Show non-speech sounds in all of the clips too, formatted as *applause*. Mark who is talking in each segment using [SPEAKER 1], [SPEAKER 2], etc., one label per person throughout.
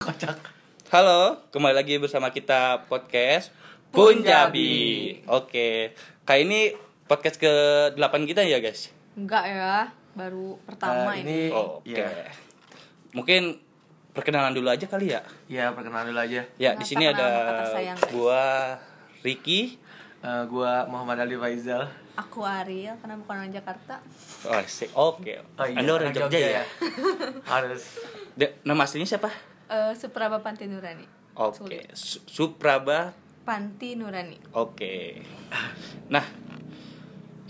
[SPEAKER 1] kocak.
[SPEAKER 2] Halo, kembali lagi bersama kita podcast Punjabi. Oke, kali ini podcast ke-8 kita ya guys?
[SPEAKER 3] Enggak ya, baru pertama
[SPEAKER 1] Eh,
[SPEAKER 3] ini.
[SPEAKER 1] ini
[SPEAKER 2] Oke.
[SPEAKER 1] ya,
[SPEAKER 2] Mungkin perkenalan dulu aja kali ya.
[SPEAKER 1] ya perkenalan dulu aja.
[SPEAKER 2] Ya, di
[SPEAKER 3] Kenapa
[SPEAKER 2] sini ada
[SPEAKER 3] kenal maka tersayang, guys?
[SPEAKER 2] gua Ricky.
[SPEAKER 1] Eh, gua Muhammad Ali Faizal.
[SPEAKER 3] Aku Ariel karena bukan orang Jakarta.
[SPEAKER 2] Oh, asik. Oke.
[SPEAKER 1] Oh iya,
[SPEAKER 2] Anda orang Jogja, ya?
[SPEAKER 1] Harus.
[SPEAKER 2] De- nama aslinya siapa?
[SPEAKER 3] Eh Supraba Panti Nurani.
[SPEAKER 2] Oke,
[SPEAKER 3] Sulit.
[SPEAKER 2] Su- Supraba.
[SPEAKER 3] Panti Nurani.
[SPEAKER 2] Oke. Nah,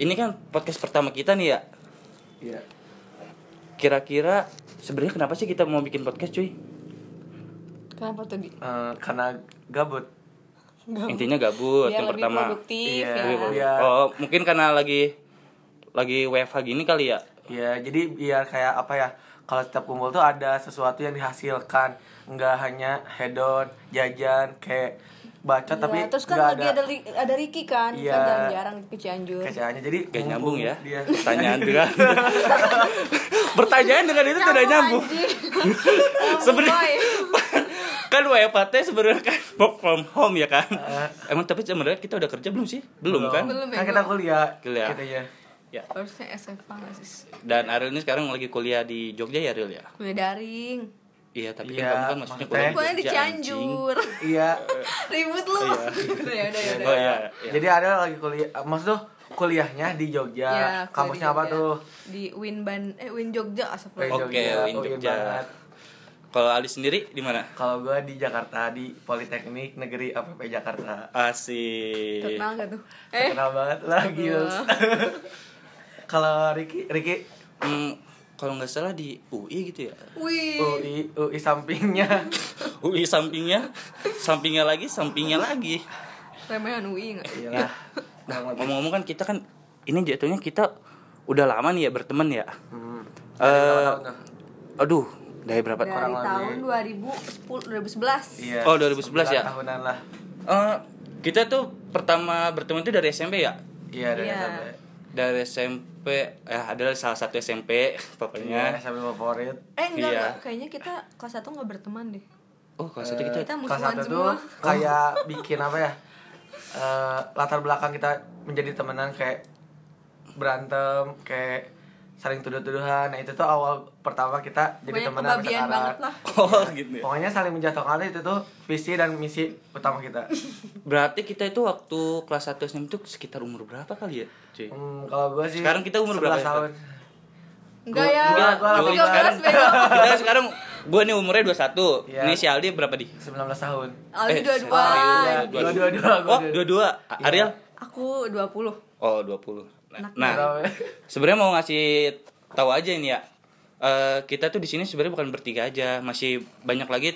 [SPEAKER 2] ini kan podcast pertama kita nih ya.
[SPEAKER 1] Iya.
[SPEAKER 2] Kira-kira sebenarnya kenapa sih kita mau bikin podcast, cuy?
[SPEAKER 3] Kenapa tadi?
[SPEAKER 1] Eh, karena gabut.
[SPEAKER 2] Intinya gabut
[SPEAKER 3] Biar
[SPEAKER 2] yang
[SPEAKER 3] lebih
[SPEAKER 2] pertama.
[SPEAKER 3] produktif
[SPEAKER 1] Iya,
[SPEAKER 3] ya.
[SPEAKER 2] Lebih produktif.
[SPEAKER 1] Iya.
[SPEAKER 2] Oh, mungkin karena lagi lagi WFH gini kali ya.
[SPEAKER 1] Ya, jadi biar kayak apa ya? Kalau setiap kumpul tuh ada sesuatu yang dihasilkan, nggak hanya hedon, jajan, kayak bacot
[SPEAKER 3] Iya,
[SPEAKER 1] tapi
[SPEAKER 3] terus kan
[SPEAKER 1] nggak
[SPEAKER 3] lagi ada Li- ada Ricky kan,
[SPEAKER 1] Iya.
[SPEAKER 3] kan jarang-jarang ke Cianjur.
[SPEAKER 1] Kayaknya jadi
[SPEAKER 2] Gak
[SPEAKER 1] mumpung
[SPEAKER 2] nyambung ya.
[SPEAKER 1] dia-
[SPEAKER 2] Pertanyaan dengan Pertanyaan dengan itu tidak
[SPEAKER 3] *laughs*
[SPEAKER 2] nyambung. Sebenarnya-
[SPEAKER 3] Sebenarnya
[SPEAKER 2] kan WFH teh sebenarnya kan work from home ya kan. Emang tapi sebenarnya kita udah kerja belum sih? Belum, kan?
[SPEAKER 3] Belum ya,
[SPEAKER 1] Kan kita
[SPEAKER 3] belum.
[SPEAKER 1] kuliah. Gitu
[SPEAKER 2] Kuliah.
[SPEAKER 1] Kitanya.
[SPEAKER 2] Ya.
[SPEAKER 3] harusnya SFA nggak sih?
[SPEAKER 2] Dan Ariel ini sekarang lagi kuliah di Jogja ya, Ariel ya?
[SPEAKER 3] Kuliah daring.
[SPEAKER 2] Iya, tapi
[SPEAKER 1] Iya,
[SPEAKER 2] kan kamu kan maksudnya
[SPEAKER 1] maksudnya-
[SPEAKER 2] kuliah
[SPEAKER 3] Kuliahnya di
[SPEAKER 2] Jogja, anjing.
[SPEAKER 3] Cianjur.
[SPEAKER 1] Iya.
[SPEAKER 3] Ribut lu. *laughs* Udah ya, udah ya. udah.
[SPEAKER 2] Oh iya. iya.
[SPEAKER 1] Jadi ada lagi kuliah, maksud tuh kuliahnya di Jogja.
[SPEAKER 3] Ya, kuliah di
[SPEAKER 1] Iya, Kampusnya apa
[SPEAKER 3] Jogja.
[SPEAKER 1] tuh?
[SPEAKER 3] Di Win Ban eh Win Jogja
[SPEAKER 1] Win
[SPEAKER 3] astagfirullah.
[SPEAKER 2] Oke, Win
[SPEAKER 1] oh, iya
[SPEAKER 2] Jogja.
[SPEAKER 1] banget.
[SPEAKER 2] Kalau Ali sendiri di mana?
[SPEAKER 1] Kalau gua di Jakarta di Politeknik Negeri APP Jakarta. Iya.
[SPEAKER 2] Asik.
[SPEAKER 3] Terkenal gak tuh? Eh,
[SPEAKER 1] Terkenal banget lah Gils. *laughs* Kalau Riki, Riki
[SPEAKER 2] Hmm, kalau nggak salah di UI gitu ya.
[SPEAKER 3] wih.
[SPEAKER 1] UI UI sampingnya.
[SPEAKER 2] *laughs* UI sampingnya, sampingnya lagi, sampingnya lagi.
[SPEAKER 3] Remehan UI gak?
[SPEAKER 1] Iyalah.
[SPEAKER 2] Nah, ngomong-ngomong kan kita kan ini jatuhnya kita udah lama nih ya berteman ya.
[SPEAKER 1] Hmm.
[SPEAKER 2] Eh,
[SPEAKER 1] Tahu tuh.
[SPEAKER 2] aduh, dari berapa?
[SPEAKER 3] Dari
[SPEAKER 1] orang lagi.
[SPEAKER 3] tahun 2010 2011.
[SPEAKER 1] Iya.
[SPEAKER 2] Oh, 2011 ya?
[SPEAKER 1] 9 Tahunan lah.
[SPEAKER 2] Eh, kita tuh pertama berteman itu dari SMP ya.
[SPEAKER 1] Iya, dari
[SPEAKER 3] Iya.
[SPEAKER 1] SMP.
[SPEAKER 2] Dari SMP, eh ada salah satu SMP *laughs*
[SPEAKER 1] Iya,
[SPEAKER 2] pokoknya.
[SPEAKER 1] SMP favorit.
[SPEAKER 3] Eh
[SPEAKER 2] Iya.
[SPEAKER 3] enggak, enggak. kayaknya kita kelas 1 enggak berteman deh.
[SPEAKER 2] Oh, kalau satu kita
[SPEAKER 3] Kita
[SPEAKER 1] kelas
[SPEAKER 3] musuhan
[SPEAKER 1] satu tuh
[SPEAKER 3] semua.
[SPEAKER 1] kayak bikin apa ya eh, latar belakang kita menjadi temenan kayak berantem kayak saling tuduh-tuduhan nah itu tuh awal pertama kita jadi
[SPEAKER 3] Banyak
[SPEAKER 1] temenan sampai
[SPEAKER 3] kebabian
[SPEAKER 1] sekarang.
[SPEAKER 3] banget lah.
[SPEAKER 2] Oh, gitu. ya.
[SPEAKER 1] pokoknya saling menjatuhkan itu tuh visi dan misi utama kita
[SPEAKER 2] Berarti kita itu waktu kelas 1 SMP itu sekitar umur berapa kali ya?
[SPEAKER 1] *laughs*
[SPEAKER 2] Cuy.
[SPEAKER 1] Hmm, kalau gue sih
[SPEAKER 2] Sekarang kita umur berapa
[SPEAKER 1] 11
[SPEAKER 2] ya,
[SPEAKER 1] tahun
[SPEAKER 3] Enggak
[SPEAKER 1] Gua-
[SPEAKER 3] ya.
[SPEAKER 1] gua- gua kan.
[SPEAKER 3] Aku 13
[SPEAKER 1] lama
[SPEAKER 2] banget.
[SPEAKER 1] *laughs*
[SPEAKER 3] bego.
[SPEAKER 2] Kita sekarang gua nih umurnya 21.
[SPEAKER 1] Iya.
[SPEAKER 2] Ini si Aldi berapa di?
[SPEAKER 1] 19 tahun
[SPEAKER 3] Aldi
[SPEAKER 2] Eh,
[SPEAKER 1] Iya,
[SPEAKER 3] 22.
[SPEAKER 2] serius. Dua-dua.
[SPEAKER 1] dua-dua dua
[SPEAKER 2] Oh, 22. A-
[SPEAKER 1] Iya.
[SPEAKER 2] Ariel?
[SPEAKER 3] Aku 20.
[SPEAKER 2] Oh, 20. Nah,
[SPEAKER 3] Anak
[SPEAKER 2] nah sebenarnya mau ngasih tahu aja ini ya. Eh, kita tuh di sini sebenarnya bukan bertiga aja, masih banyak lagi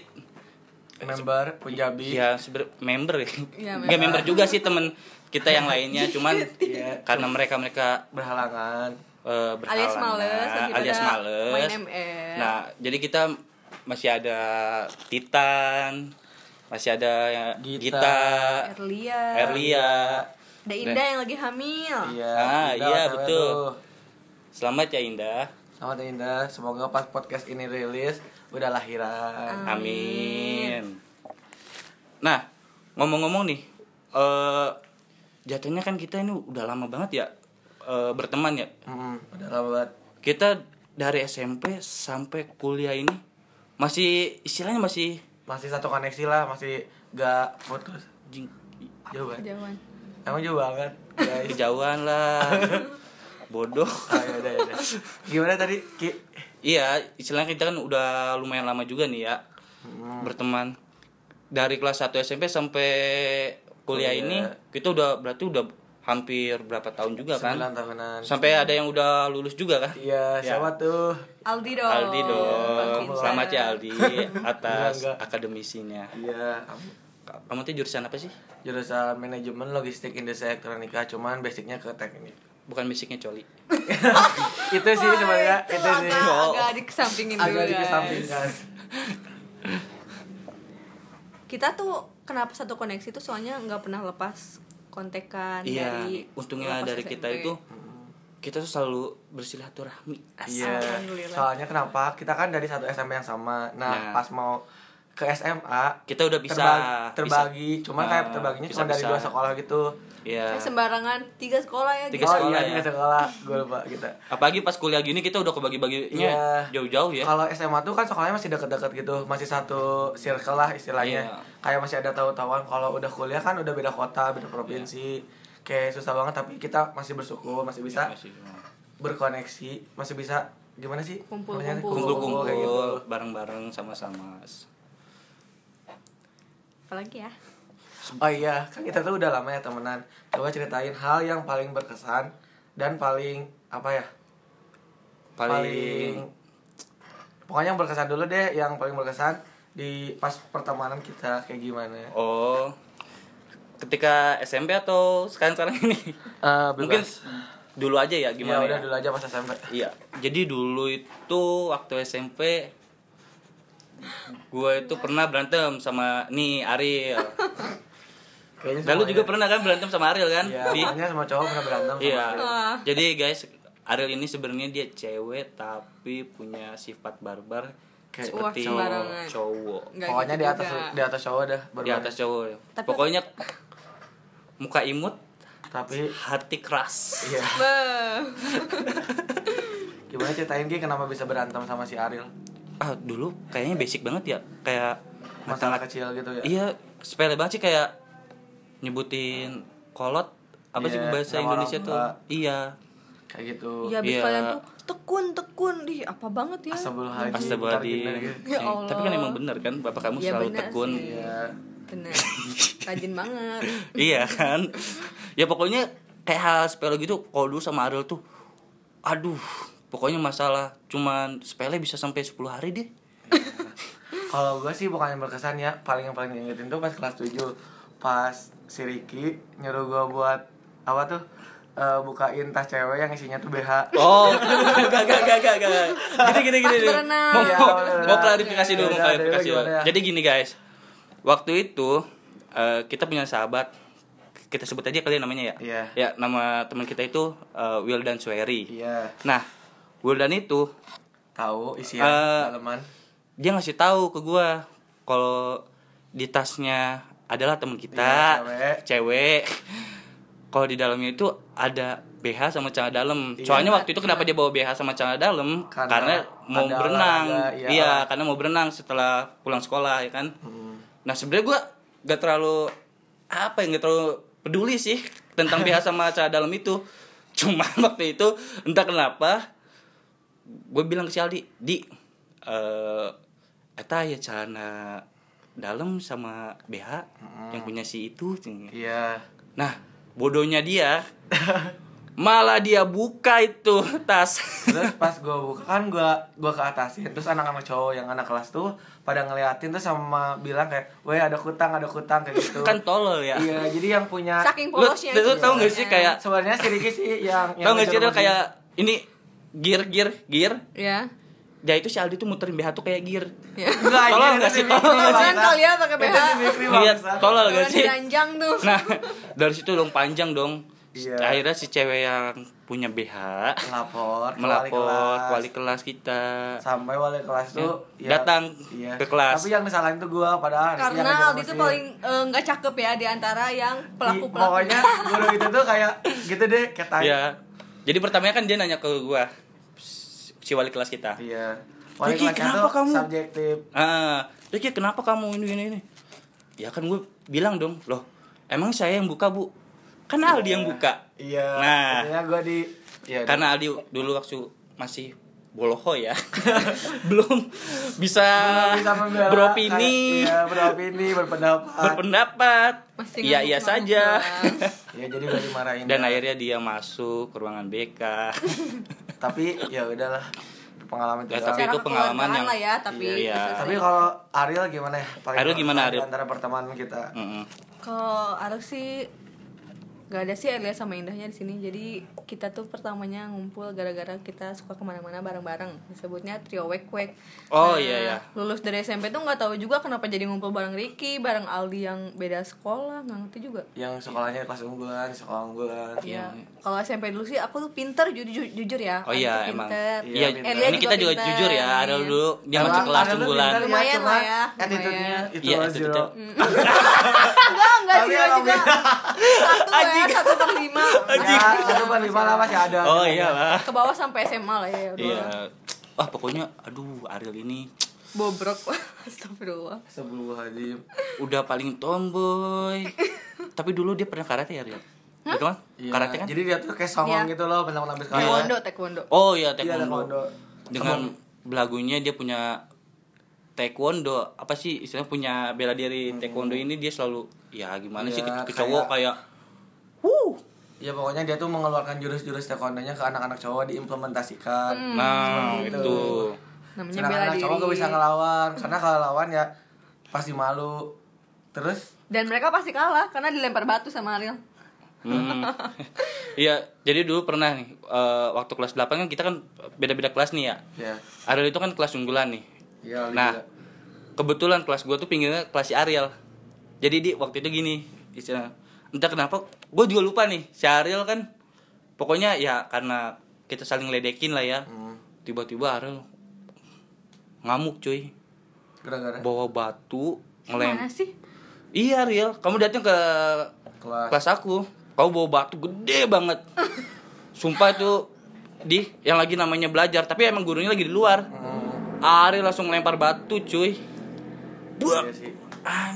[SPEAKER 1] member Punjabi
[SPEAKER 2] ya seber- member ya.
[SPEAKER 3] Iya,
[SPEAKER 2] Nggak, member juga sih temen kita yang
[SPEAKER 3] *laughs*
[SPEAKER 2] lainnya, cuman ya,
[SPEAKER 1] Iya.
[SPEAKER 2] karena mereka-mereka
[SPEAKER 1] berhalangan
[SPEAKER 2] eh,
[SPEAKER 3] Alias
[SPEAKER 2] berhalangan,
[SPEAKER 3] males, lagi
[SPEAKER 2] alias
[SPEAKER 3] pada
[SPEAKER 2] males.
[SPEAKER 3] main ML.
[SPEAKER 2] Nah, jadi kita masih ada Titan, masih ada ya,
[SPEAKER 1] Gita.
[SPEAKER 2] Gita,
[SPEAKER 1] Iya.
[SPEAKER 3] Erlia.
[SPEAKER 2] Erlia.
[SPEAKER 3] Ada Indah yang lagi hamil.
[SPEAKER 1] Er- iya
[SPEAKER 2] Ah,
[SPEAKER 1] Indah,
[SPEAKER 2] iya,
[SPEAKER 1] OTW
[SPEAKER 2] betul.
[SPEAKER 1] tuh.
[SPEAKER 2] Selamat ya Indah.
[SPEAKER 1] Selamat ya, Indah, semoga pas podcast ini rilis udah lahiran.
[SPEAKER 2] Amin. Nah, ngomong-ngomong nih, eh jatuhnya kan kita ini udah lama banget ya eh, berteman ya.
[SPEAKER 1] Mm, udah lama banget.
[SPEAKER 2] Kita dari SMP sampai kuliah ini masih istilahnya masih
[SPEAKER 1] Masih satu koneksi lah, masih gak putus.
[SPEAKER 2] jing-
[SPEAKER 1] Jauh banget.
[SPEAKER 3] Jawan.
[SPEAKER 1] Emang jauh banget,
[SPEAKER 2] *laughs*
[SPEAKER 1] guys.
[SPEAKER 2] kejauhan lah. Bodoh.
[SPEAKER 1] Ah, yaudah, yaudah. Gimana tadi, Ki?
[SPEAKER 2] Iya, istilahnya kita kan udah lumayan lama juga nih ya
[SPEAKER 1] Hmm.
[SPEAKER 2] berteman. Dari kelas 1 SMP sampai kuliah
[SPEAKER 1] Kuliah.
[SPEAKER 2] ini kita udah berarti udah hampir berapa tahun juga kan?
[SPEAKER 1] 9 tahunan.
[SPEAKER 2] Sampai ada yang udah lulus juga kan?
[SPEAKER 1] Iya,
[SPEAKER 2] Ya.
[SPEAKER 1] siapa tuh?
[SPEAKER 3] Aldi dong.
[SPEAKER 2] Aldi dong.
[SPEAKER 3] Pintar.
[SPEAKER 2] Selamat ya Aldi atas
[SPEAKER 1] Enggak, enggak.
[SPEAKER 2] akademisinya.
[SPEAKER 1] Iya, am-
[SPEAKER 2] Kamu tuh jurusan apa sih?
[SPEAKER 1] jurusan manajemen logistik industri elektronika, cuman basicnya ke teknik.
[SPEAKER 2] Bukan musiknya coli.
[SPEAKER 1] Itu sih sebenarnya,
[SPEAKER 3] Itu
[SPEAKER 1] itu sih.
[SPEAKER 3] agak, agak dikesampingin dulu ya.
[SPEAKER 1] Iya. Agak
[SPEAKER 3] guys.
[SPEAKER 1] dikesampingkan.
[SPEAKER 3] Kita tuh kenapa satu koneksi tuh soalnya nggak pernah lepas kontekan
[SPEAKER 2] Iya.
[SPEAKER 3] dari
[SPEAKER 2] Untungnya
[SPEAKER 3] lepas
[SPEAKER 2] dari
[SPEAKER 3] SMP.
[SPEAKER 2] kita itu kita tuh selalu bersilaturahmi.
[SPEAKER 1] Iya.
[SPEAKER 3] Alhamdulillah.
[SPEAKER 1] Soalnya kenapa? Kita kan dari satu SMP yang sama. Nah,
[SPEAKER 2] Nah.
[SPEAKER 1] pas mau ke SMA
[SPEAKER 2] Kita udah bisa
[SPEAKER 1] terba- terbagi cuma
[SPEAKER 2] Ah,
[SPEAKER 1] kayak terbaginya cuma dari
[SPEAKER 2] bisa-bisa.
[SPEAKER 1] dua sekolah gitu
[SPEAKER 2] Iya.
[SPEAKER 3] Eh, sembarangan tiga sekolah ya
[SPEAKER 2] Tiga
[SPEAKER 1] oh
[SPEAKER 2] sekolah
[SPEAKER 1] iya
[SPEAKER 2] ya.
[SPEAKER 1] tiga sekolah gue lupa gitu. kita
[SPEAKER 2] Apalagi pas kuliah gini kita udah kebagi-baginya
[SPEAKER 1] Iya.
[SPEAKER 2] jauh-jauh ya.
[SPEAKER 1] Kalau SMA tuh kan sekolahnya masih dekat-dekat gitu, masih satu circle lah istilahnya.
[SPEAKER 2] Iya.
[SPEAKER 1] Kayak masih ada tahu-tahuan. Kalau udah kuliah kan udah beda kota, beda provinsi.
[SPEAKER 2] Iya.
[SPEAKER 1] Kayak susah banget tapi kita masih bersyukur, masih bisa
[SPEAKER 2] Masih
[SPEAKER 1] berkoneksi, masih bisa gimana sih?
[SPEAKER 3] Kumpul,
[SPEAKER 1] namanya?
[SPEAKER 3] kumpul.
[SPEAKER 1] Kumpul-kumpul kayak gitu.
[SPEAKER 2] Kumpul-kumpul bareng-bareng sama-sama.
[SPEAKER 3] apalagi ya
[SPEAKER 1] Oh iya, kan kita tuh udah lama ya temenan. Coba ceritain hal yang paling berkesan dan paling apa ya?
[SPEAKER 2] Paling
[SPEAKER 1] pokoknya yang berkesan dulu deh, yang paling berkesan di pas pertemanan kita kayak gimana?
[SPEAKER 2] oh ketika SMP atau sekarang-sekarang ini?
[SPEAKER 1] Eh,
[SPEAKER 2] Mungkin
[SPEAKER 1] bebas.
[SPEAKER 2] dulu aja ya gimana
[SPEAKER 1] Gimana ya udah
[SPEAKER 2] ya?
[SPEAKER 1] dulu aja pas SMP.
[SPEAKER 2] Iya. Jadi dulu itu waktu SMP gue itu pernah berantem sama nih Ariel. Dan
[SPEAKER 1] Kayaknya
[SPEAKER 2] lu
[SPEAKER 1] semua
[SPEAKER 2] juga
[SPEAKER 1] ya.
[SPEAKER 2] pernah kan berantem sama Ariel kan?
[SPEAKER 1] Iya,
[SPEAKER 2] Di-
[SPEAKER 1] pokoknya sama cowok pernah berantem sama
[SPEAKER 2] Iya.
[SPEAKER 1] Ariel.
[SPEAKER 2] Jadi guys, Ariel ini sebenarnya dia cewek tapi punya sifat barbar
[SPEAKER 1] Kayak
[SPEAKER 2] seperti
[SPEAKER 3] Wah, sembarangan.
[SPEAKER 2] cowok.
[SPEAKER 3] Nggak
[SPEAKER 1] Pokoknya
[SPEAKER 3] gitu
[SPEAKER 1] di atas
[SPEAKER 3] juga.
[SPEAKER 1] di atas cowok dah
[SPEAKER 2] Di
[SPEAKER 1] berbadan.
[SPEAKER 2] atas cowok. ya.
[SPEAKER 3] Tapi-
[SPEAKER 2] Pokoknya muka imut,
[SPEAKER 1] Tapi
[SPEAKER 2] hati keras.
[SPEAKER 1] iya,
[SPEAKER 3] Beuh.
[SPEAKER 1] gimana ceritain Ki kenapa bisa berantem sama si Ariel?
[SPEAKER 2] Ah, dulu kayaknya basic banget ya. Kayak
[SPEAKER 1] Masalah
[SPEAKER 2] ngata-ngata-
[SPEAKER 1] kecil gitu ya.
[SPEAKER 2] Iya, sepele banget sih kayak nyebutin kolot apa sih
[SPEAKER 1] Iya,
[SPEAKER 2] bahasa
[SPEAKER 1] nama
[SPEAKER 2] Indonesia
[SPEAKER 1] orang
[SPEAKER 2] tuh?
[SPEAKER 1] tua.
[SPEAKER 2] Iya.
[SPEAKER 1] Kayak gitu.
[SPEAKER 3] ya abis
[SPEAKER 2] Iya.
[SPEAKER 3] kalian tuh tekun tekun di apa banget ya
[SPEAKER 1] Astagfirullahaladzim.
[SPEAKER 2] Astagfirullahaladzim.
[SPEAKER 1] Ntar gini.
[SPEAKER 3] Ya
[SPEAKER 2] Eh, tapi kan
[SPEAKER 3] Allah.
[SPEAKER 2] emang bener kan bapak kamu
[SPEAKER 3] Iya,
[SPEAKER 2] selalu
[SPEAKER 3] bener
[SPEAKER 2] tekun.
[SPEAKER 3] sih.
[SPEAKER 1] Iya. *laughs*
[SPEAKER 3] bener rajin banget
[SPEAKER 2] iya kan? Ya pokoknya kayak hal sepele gitu kalau dulu sama Ariel tuh aduh, pokoknya masalah cuman sepele bisa sampai 10 hari deh.
[SPEAKER 1] Kalau gue sih bukan yang berkesan ya, paling yang paling diingetin tuh pas kelas 7 pas si Riki nyuruh gue buat apa tuh eh, bukain tas cewek yang isinya tuh BH.
[SPEAKER 2] Oh, *laughs* gak, gak, gak, gak, gak. Gini, gini, gini.
[SPEAKER 3] Pas berenang.
[SPEAKER 2] Mau,
[SPEAKER 1] Iya,
[SPEAKER 2] mau,
[SPEAKER 1] pas berenang.
[SPEAKER 2] mau klarifikasi dulu,
[SPEAKER 1] Iya,
[SPEAKER 2] mau
[SPEAKER 1] iya,
[SPEAKER 2] klarifikasi
[SPEAKER 1] iya,
[SPEAKER 2] dulu.
[SPEAKER 1] gimana ya?
[SPEAKER 2] Jadi gini guys, waktu itu eh, kita punya sahabat, kita sebut aja kalian namanya ya.
[SPEAKER 1] Iya.
[SPEAKER 2] Ya, nama teman kita itu eh, Wildan Sueri.
[SPEAKER 1] Iya.
[SPEAKER 2] Nah, Wildan itu
[SPEAKER 1] Tahu isian
[SPEAKER 2] Eh,
[SPEAKER 1] daleman.
[SPEAKER 2] dia ngasih tahu ke gua kalau di tasnya adalah teman kita
[SPEAKER 1] Iya,
[SPEAKER 2] cewek, kalau di dalamnya itu ada BH sama celana dalam.
[SPEAKER 1] Iya.
[SPEAKER 2] Soalnya waktu itu kenapa dia bawa BH sama celana dalam?
[SPEAKER 1] Karena
[SPEAKER 2] Karena, mau
[SPEAKER 1] ada
[SPEAKER 2] berenang.
[SPEAKER 1] olahraga, iya.
[SPEAKER 2] iya. karena mau berenang setelah pulang sekolah ya kan.
[SPEAKER 1] Hmm.
[SPEAKER 2] Nah, sebenarnya gua gak terlalu apa yang gak terlalu peduli sih tentang BH sama celana dalam itu. Cuma *laughs* waktu itu entah kenapa gue bilang ke si Aldi di eh eta ya celana dalam sama BH yang punya si itu cing."
[SPEAKER 1] Iya.
[SPEAKER 2] nah bodohnya dia *laughs* malah dia buka itu tas
[SPEAKER 1] terus pas gue buka kan gue gua ke atasin terus anak-anak cowok yang anak kelas tuh pada ngeliatin terus sama bilang kayak weh ada kutang ada kutang kayak gitu
[SPEAKER 2] kan tolol ya
[SPEAKER 1] iya jadi yang punya
[SPEAKER 3] saking
[SPEAKER 2] Lu-
[SPEAKER 3] polosnya
[SPEAKER 2] lu
[SPEAKER 3] gitu.
[SPEAKER 2] tau gak sih kayak
[SPEAKER 1] sebenarnya si Riki sih
[SPEAKER 2] tau
[SPEAKER 1] yang yang
[SPEAKER 2] gak sih
[SPEAKER 1] disuruh
[SPEAKER 2] Del, kayak ini gear gear gear
[SPEAKER 3] ya
[SPEAKER 2] dia itu si Aldi tuh muterin BH tuh kayak gear
[SPEAKER 3] ya
[SPEAKER 1] begini. Enggak,
[SPEAKER 2] Tolong
[SPEAKER 1] ini
[SPEAKER 2] nggak sih?
[SPEAKER 1] di Mikri,
[SPEAKER 2] Tolong.
[SPEAKER 1] bangsa.
[SPEAKER 3] Jangan kali ya pakai
[SPEAKER 1] Itu
[SPEAKER 3] BH.
[SPEAKER 1] di Mikri,
[SPEAKER 2] Iya,
[SPEAKER 1] bangsa.
[SPEAKER 2] tolol
[SPEAKER 3] Kalau
[SPEAKER 2] gak sih
[SPEAKER 3] diranjang tuh
[SPEAKER 2] nah dari situ dong panjang dong
[SPEAKER 1] Iya.
[SPEAKER 2] akhirnya si cewek yang punya BH
[SPEAKER 1] melapor ke
[SPEAKER 2] melapor
[SPEAKER 1] wali kelas.
[SPEAKER 2] wali kelas kita
[SPEAKER 1] sampai wali kelas tuh
[SPEAKER 2] Ya,
[SPEAKER 1] iya.
[SPEAKER 2] datang ke kelas.
[SPEAKER 1] tapi yang disalahin tuh gue padahal harusnya
[SPEAKER 3] karena
[SPEAKER 1] ngajarin
[SPEAKER 3] Aldi tuh
[SPEAKER 1] Muslim.
[SPEAKER 3] paling eh, nggak cakep ya di antara yang pelaku
[SPEAKER 1] Ih,
[SPEAKER 3] pelaku
[SPEAKER 1] Iya, pokoknya guru itu tuh kayak gitu deh kayak tai.
[SPEAKER 2] ya jadi pertamanya kan dia nanya ke gua si wali kelas kita
[SPEAKER 1] iya wali
[SPEAKER 2] Riki,
[SPEAKER 1] kelasnya
[SPEAKER 2] kenapa
[SPEAKER 1] tuh
[SPEAKER 2] kamu?
[SPEAKER 1] subjektif
[SPEAKER 2] ah Riki kenapa kamu ini ini ini ya kan gue bilang dong loh emang saya yang buka bu kan Aldi yang buka
[SPEAKER 1] Iya.
[SPEAKER 2] Nah.
[SPEAKER 1] Akhirnya gue di Iya.
[SPEAKER 2] karena Aldi dulu waktu masih boloho ya *laughs* belum bisa,
[SPEAKER 1] dulu bisa
[SPEAKER 2] *laughs*
[SPEAKER 1] membela,
[SPEAKER 2] beropini
[SPEAKER 1] kayak- Iya, beropini, berpendapat.
[SPEAKER 2] berpendapat
[SPEAKER 3] Masih
[SPEAKER 2] iya iya
[SPEAKER 3] ngamuk-ngamuk
[SPEAKER 2] saja
[SPEAKER 3] kelas.
[SPEAKER 1] Iya, jadi gue dimarahin.
[SPEAKER 2] *laughs* dan akhirnya dia masuk ke ruangan BK
[SPEAKER 3] *laughs*
[SPEAKER 1] Tapi ya udahlah. Pengalaman itu.
[SPEAKER 2] Ya,
[SPEAKER 1] doang.
[SPEAKER 2] tapi- itu pengalaman
[SPEAKER 3] kekeluargaan
[SPEAKER 2] yang-
[SPEAKER 3] lah ya tapi
[SPEAKER 2] Iya.
[SPEAKER 3] bisa-
[SPEAKER 1] Tapi kalau Ariel gimana ya? Paling
[SPEAKER 2] Ariel gimana,
[SPEAKER 1] berkesan
[SPEAKER 2] Ariel?
[SPEAKER 1] Antara pertemanan kita.
[SPEAKER 2] Mm-mm.
[SPEAKER 3] kalau Arif sih nggak ada sih Erlia sama Indahnya di sini jadi kita tuh pertamanya ngumpul gara-gara kita suka kemana-mana bareng-bareng disebutnya trio wek wek Nah,
[SPEAKER 2] Oh, iya, iya.
[SPEAKER 3] lulus dari SMP tuh nggak tahu juga kenapa jadi ngumpul bareng Ricky bareng Aldi yang beda sekolah nggak ngerti juga
[SPEAKER 1] yang sekolahnya kelas unggulan sekolah unggulan
[SPEAKER 3] Iya. Kalau SMP dulu sih aku tuh pinter ju- ju- jujur ya.
[SPEAKER 2] Oh
[SPEAKER 3] Aku
[SPEAKER 2] iya
[SPEAKER 3] tuh
[SPEAKER 2] emang.
[SPEAKER 3] pinter.
[SPEAKER 2] Iya,
[SPEAKER 1] pinter.
[SPEAKER 3] Erlia
[SPEAKER 2] ini kita juga
[SPEAKER 3] pinter.
[SPEAKER 2] jujur ya, ada dulu dia
[SPEAKER 1] Emang
[SPEAKER 2] masih kelas
[SPEAKER 1] ada lu
[SPEAKER 2] unggulan.
[SPEAKER 1] pintar
[SPEAKER 3] Lumayan
[SPEAKER 1] cuman
[SPEAKER 3] lah ya,
[SPEAKER 1] attitude-nya
[SPEAKER 3] lumayan.
[SPEAKER 1] itu
[SPEAKER 2] Iya,
[SPEAKER 1] loh,
[SPEAKER 2] attitude-nya.
[SPEAKER 1] Zero.
[SPEAKER 3] Enggak, enggak
[SPEAKER 1] Tapi
[SPEAKER 3] sih
[SPEAKER 1] emang
[SPEAKER 3] juga. Satu ya, satu per lima.
[SPEAKER 1] ya
[SPEAKER 3] Mm.
[SPEAKER 1] satu
[SPEAKER 3] Iya.
[SPEAKER 1] per lima lah masih ada
[SPEAKER 2] Oh iyalah.
[SPEAKER 3] Ke bawah sampai SMA lah ya. udah.
[SPEAKER 2] Iya. Wah, pokoknya aduh Ariel ini
[SPEAKER 3] Bobrok. *laughs* Astagfirullah.
[SPEAKER 1] sebelum hadim
[SPEAKER 2] udah paling tomboy. Tapi dulu dia pernah karate ya, Ariel? Betul kan?
[SPEAKER 1] Iya.
[SPEAKER 2] Karate kan?
[SPEAKER 1] jadi dia tuh kayak songong
[SPEAKER 3] Iya.
[SPEAKER 1] gitu loh pernah habis sekolah
[SPEAKER 3] Taekwondo, taekwondo.
[SPEAKER 2] Oh iya,
[SPEAKER 1] Iya, taekwondo.
[SPEAKER 2] taekwondo. Dengan belagunya dia punya taekwondo apa sih istilahnya punya bela diri taekwondo ini dia selalu ya gimana sih ke,
[SPEAKER 1] Hmm. Iya,
[SPEAKER 2] ke cowok kayak wuh
[SPEAKER 1] ya pokoknya dia tuh mengeluarkan jurus-jurus taekwondonya ke anak-anak cowok diimplementasikan
[SPEAKER 2] nah
[SPEAKER 1] Seperti itu.
[SPEAKER 2] itu
[SPEAKER 3] Mm. Namanya
[SPEAKER 1] sedangkan
[SPEAKER 3] bela
[SPEAKER 1] anak
[SPEAKER 3] diri.
[SPEAKER 1] cowok gak bisa ngelawan karena kalau lawan ya pasti malu terus
[SPEAKER 3] Dan mereka pasti kalah karena dilempar batu sama Ariel.
[SPEAKER 2] Hmm. *laughs* Iya, jadi dulu pernah nih eh, waktu kelas 8 kan kita kan beda-beda kelas nih ya.
[SPEAKER 1] ya
[SPEAKER 2] Ariel itu kan kelas unggulan nih.
[SPEAKER 1] ya
[SPEAKER 2] Nah, kebetulan kelas gue tuh pinggirnya kelas si Ariel. Jadi di waktu itu gini, istilah entah kenapa gue juga lupa nih. Si Ariel kan pokoknya ya karena kita saling ledekin lah ya.
[SPEAKER 1] Mm.
[SPEAKER 2] Tiba-tiba Ariel ngamuk cuy,
[SPEAKER 1] gara-gara
[SPEAKER 2] bawa batu
[SPEAKER 3] Mana
[SPEAKER 2] ngelempar.
[SPEAKER 3] sih?
[SPEAKER 2] Iya Ariel, kamu datang ke
[SPEAKER 1] kelas
[SPEAKER 2] kelas aku kau bawa batu gede banget sumpah itu di yang lagi namanya belajar tapi emang gurunya lagi di luar
[SPEAKER 1] Hmm.
[SPEAKER 2] Ari langsung melempar batu cuy buat
[SPEAKER 1] Iya sih.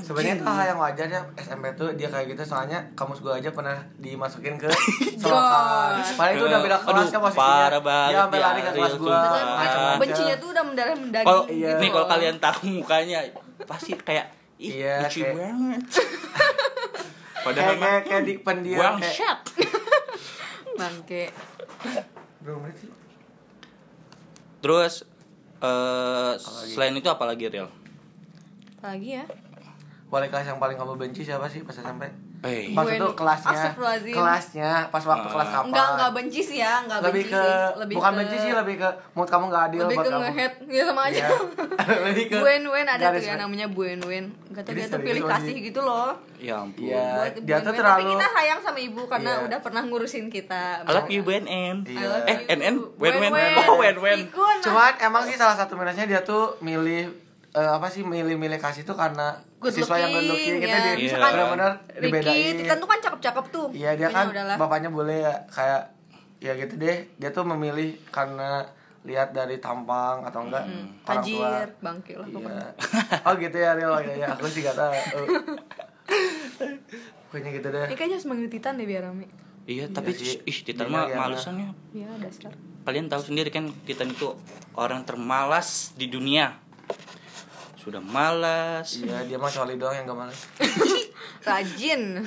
[SPEAKER 1] Sebenarnya itu hal yang wajar ya SMP tuh dia kayak gitu soalnya kamus gue aja pernah dimasukin
[SPEAKER 2] *laughs*
[SPEAKER 1] ke selokan. Padahal itu udah beda
[SPEAKER 2] Aduh,
[SPEAKER 1] kelas kan posisinya.
[SPEAKER 2] parah banget
[SPEAKER 1] Dia sampai
[SPEAKER 2] ya,
[SPEAKER 1] lari ke kelas
[SPEAKER 2] Ariel,
[SPEAKER 1] gue.
[SPEAKER 2] sumpah.
[SPEAKER 1] macam-macam.
[SPEAKER 3] Bencinya tuh udah mendarah mendaging.
[SPEAKER 2] kalau
[SPEAKER 3] gitu
[SPEAKER 1] iya.
[SPEAKER 2] nih kalau
[SPEAKER 3] loh.
[SPEAKER 2] kalian tahu mukanya pasti kayak ih
[SPEAKER 1] Iya,
[SPEAKER 2] lucu
[SPEAKER 1] kayak- *laughs*
[SPEAKER 2] banget padahal
[SPEAKER 1] kayak
[SPEAKER 2] mah
[SPEAKER 1] kayak kayak dipendiam
[SPEAKER 2] buang
[SPEAKER 1] kayak-
[SPEAKER 2] shot
[SPEAKER 3] *laughs* bangke.
[SPEAKER 1] Berapa menit sih?
[SPEAKER 2] terus eh, selain itu apalagi real
[SPEAKER 3] Apalagi ya?
[SPEAKER 1] Wali kelas yang paling kamu benci siapa sih pas SMP?
[SPEAKER 2] eh
[SPEAKER 1] Pas
[SPEAKER 3] Gue
[SPEAKER 1] itu
[SPEAKER 3] nih.
[SPEAKER 1] kelasnya,
[SPEAKER 3] Astagfirullahaladzim.
[SPEAKER 1] kelasnya pas waktu kelas
[SPEAKER 2] Ah.
[SPEAKER 1] kapan?
[SPEAKER 3] Enggak, enggak benci sih ya, enggak
[SPEAKER 1] lebih
[SPEAKER 3] benci
[SPEAKER 1] ke
[SPEAKER 3] sih. Lebih
[SPEAKER 1] bukan
[SPEAKER 3] ke,
[SPEAKER 1] benci sih lebih ke mood kamu nggak adil
[SPEAKER 3] lebih
[SPEAKER 1] buat
[SPEAKER 3] ke
[SPEAKER 1] kamu.
[SPEAKER 3] ngehead ya sama aja.
[SPEAKER 1] Iya. *laughs* lebih ke
[SPEAKER 3] Buen Wen
[SPEAKER 1] nggak
[SPEAKER 3] ada tuh ya
[SPEAKER 1] respect.
[SPEAKER 3] namanya Buen Wen. Gak tau
[SPEAKER 1] Jadi
[SPEAKER 3] dia tuh
[SPEAKER 1] serius
[SPEAKER 3] pilih
[SPEAKER 1] lagi.
[SPEAKER 3] kasih gitu loh.
[SPEAKER 2] ya ampun
[SPEAKER 1] Iya,
[SPEAKER 3] Buat Buen
[SPEAKER 1] dia tuh
[SPEAKER 3] Wen. Tapi
[SPEAKER 1] terlalu
[SPEAKER 3] kita sayang sama ibu karena
[SPEAKER 1] Iya.
[SPEAKER 3] udah pernah ngurusin kita.
[SPEAKER 2] I love you BNN
[SPEAKER 1] Iya.
[SPEAKER 2] Eh, NN? Wen Wen.
[SPEAKER 3] Oh,
[SPEAKER 2] Oh, Wen Wen.
[SPEAKER 1] Cuman emang sih salah satu minusnya dia tuh milih eh, apa sih milih-milih kasih tuh karena
[SPEAKER 3] Good
[SPEAKER 1] siswa yang good
[SPEAKER 3] looking,
[SPEAKER 1] looking
[SPEAKER 3] ya.
[SPEAKER 1] kita di
[SPEAKER 2] Iya.
[SPEAKER 1] benar-benar
[SPEAKER 3] Ricky, Titan
[SPEAKER 1] dibedain.
[SPEAKER 3] tuh kan cakep-cakep tuh.
[SPEAKER 1] Iya dia
[SPEAKER 3] Pokoknya
[SPEAKER 1] kan
[SPEAKER 3] udahlah.
[SPEAKER 1] bapaknya boleh ya kayak ya gitu deh. Dia tuh memilih karena lihat dari tampang atau enggak orang tua.
[SPEAKER 3] Hmm. Tajir, bangke lah pokoknya.
[SPEAKER 1] Iya. Oh gitu ya Ril. Oh, iya, iya. aku sih gak tahu. Oh. Pokoknya gitu deh.
[SPEAKER 3] Ini kayaknya harus manggil Titan deh biar rame.
[SPEAKER 2] Iya, tapi
[SPEAKER 1] sih.
[SPEAKER 2] ih Titan mah
[SPEAKER 1] Gila ya,
[SPEAKER 2] malesannya.
[SPEAKER 3] Ya, dasar.
[SPEAKER 2] Kalian tahu sendiri kan Titan itu orang termalas di dunia. Sudah malas.
[SPEAKER 1] Iya dia mah coli doang yang gak males.
[SPEAKER 3] Rajin.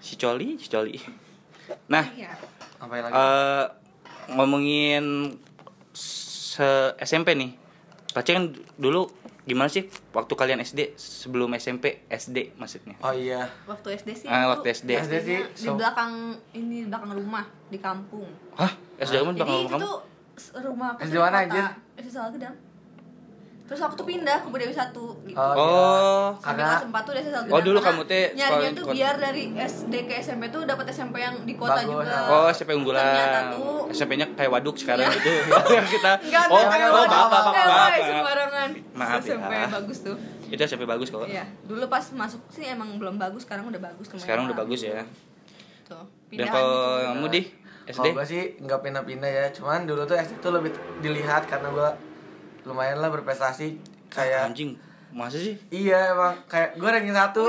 [SPEAKER 2] Si Coli, si Coli. Nah,
[SPEAKER 3] *laughs* Iya.
[SPEAKER 1] Apa lagi?
[SPEAKER 2] eh ngomongin se SMP nih. Pasti kan dulu gimana sih waktu kalian SD sebelum SMP SD maksudnya.
[SPEAKER 1] Oh iya.
[SPEAKER 3] Waktu SD sih.
[SPEAKER 2] Ah,
[SPEAKER 3] aku
[SPEAKER 2] waktu SD.
[SPEAKER 1] SD sih,
[SPEAKER 3] biasanya Di
[SPEAKER 1] so-
[SPEAKER 3] belakang ini di belakang rumah di kampung.
[SPEAKER 2] Hah? SD kamu
[SPEAKER 3] Jadi
[SPEAKER 2] bakal
[SPEAKER 3] itu
[SPEAKER 2] kamu?
[SPEAKER 3] tuh s- rumah aku
[SPEAKER 1] SD
[SPEAKER 3] tuh di
[SPEAKER 1] mana,
[SPEAKER 3] kota.
[SPEAKER 1] anjir?
[SPEAKER 3] SD Salgedang. Terus aku tuh pindah ke Budewi 1 gitu.
[SPEAKER 1] Oh,
[SPEAKER 2] Oh,
[SPEAKER 3] Sampai
[SPEAKER 1] karena-
[SPEAKER 3] kelas 4 tuh udah SD Salgedang.
[SPEAKER 2] Oh, dulu
[SPEAKER 3] Karena
[SPEAKER 2] kamu teh
[SPEAKER 3] nyarinya
[SPEAKER 2] sekolah di
[SPEAKER 3] tuh
[SPEAKER 2] kota.
[SPEAKER 3] biar dari SD ke SMP tuh dapat SMP yang di kota
[SPEAKER 1] Bagus,
[SPEAKER 3] juga.
[SPEAKER 1] ya.
[SPEAKER 2] Oh, SMP
[SPEAKER 3] Ternyata
[SPEAKER 2] unggulan.
[SPEAKER 3] tuh Iya.
[SPEAKER 2] SMP-nya kayak waduk sekarang gitu. *laughs* yang kita.
[SPEAKER 3] Enggak,
[SPEAKER 2] oh, oh,
[SPEAKER 3] enggak,
[SPEAKER 2] maaf,
[SPEAKER 3] enggak,
[SPEAKER 2] maaf,
[SPEAKER 3] enggak,
[SPEAKER 2] maaf, maaf.
[SPEAKER 3] enggak, sembarangan.
[SPEAKER 2] Maaf ya.
[SPEAKER 3] SMP bagus tuh.
[SPEAKER 2] Itu SMP bagus kok.
[SPEAKER 3] Iya, dulu pas masuk sih emang belum bagus, sekarang udah bagus lumayan
[SPEAKER 2] Sekarang udah
[SPEAKER 3] lah.
[SPEAKER 2] bagus ya.
[SPEAKER 3] Tuh.
[SPEAKER 2] Dan
[SPEAKER 3] Pindahan
[SPEAKER 2] kalau
[SPEAKER 3] gitu.
[SPEAKER 2] kamu di SD?
[SPEAKER 1] Kalau gue sih nggak pindah-pindah ya, cuman dulu tuh SD tuh lebih dilihat karena gue lumayan lah berprestasi kayak
[SPEAKER 2] Anjing, masa sih?
[SPEAKER 1] iya emang kayak gue ranking satu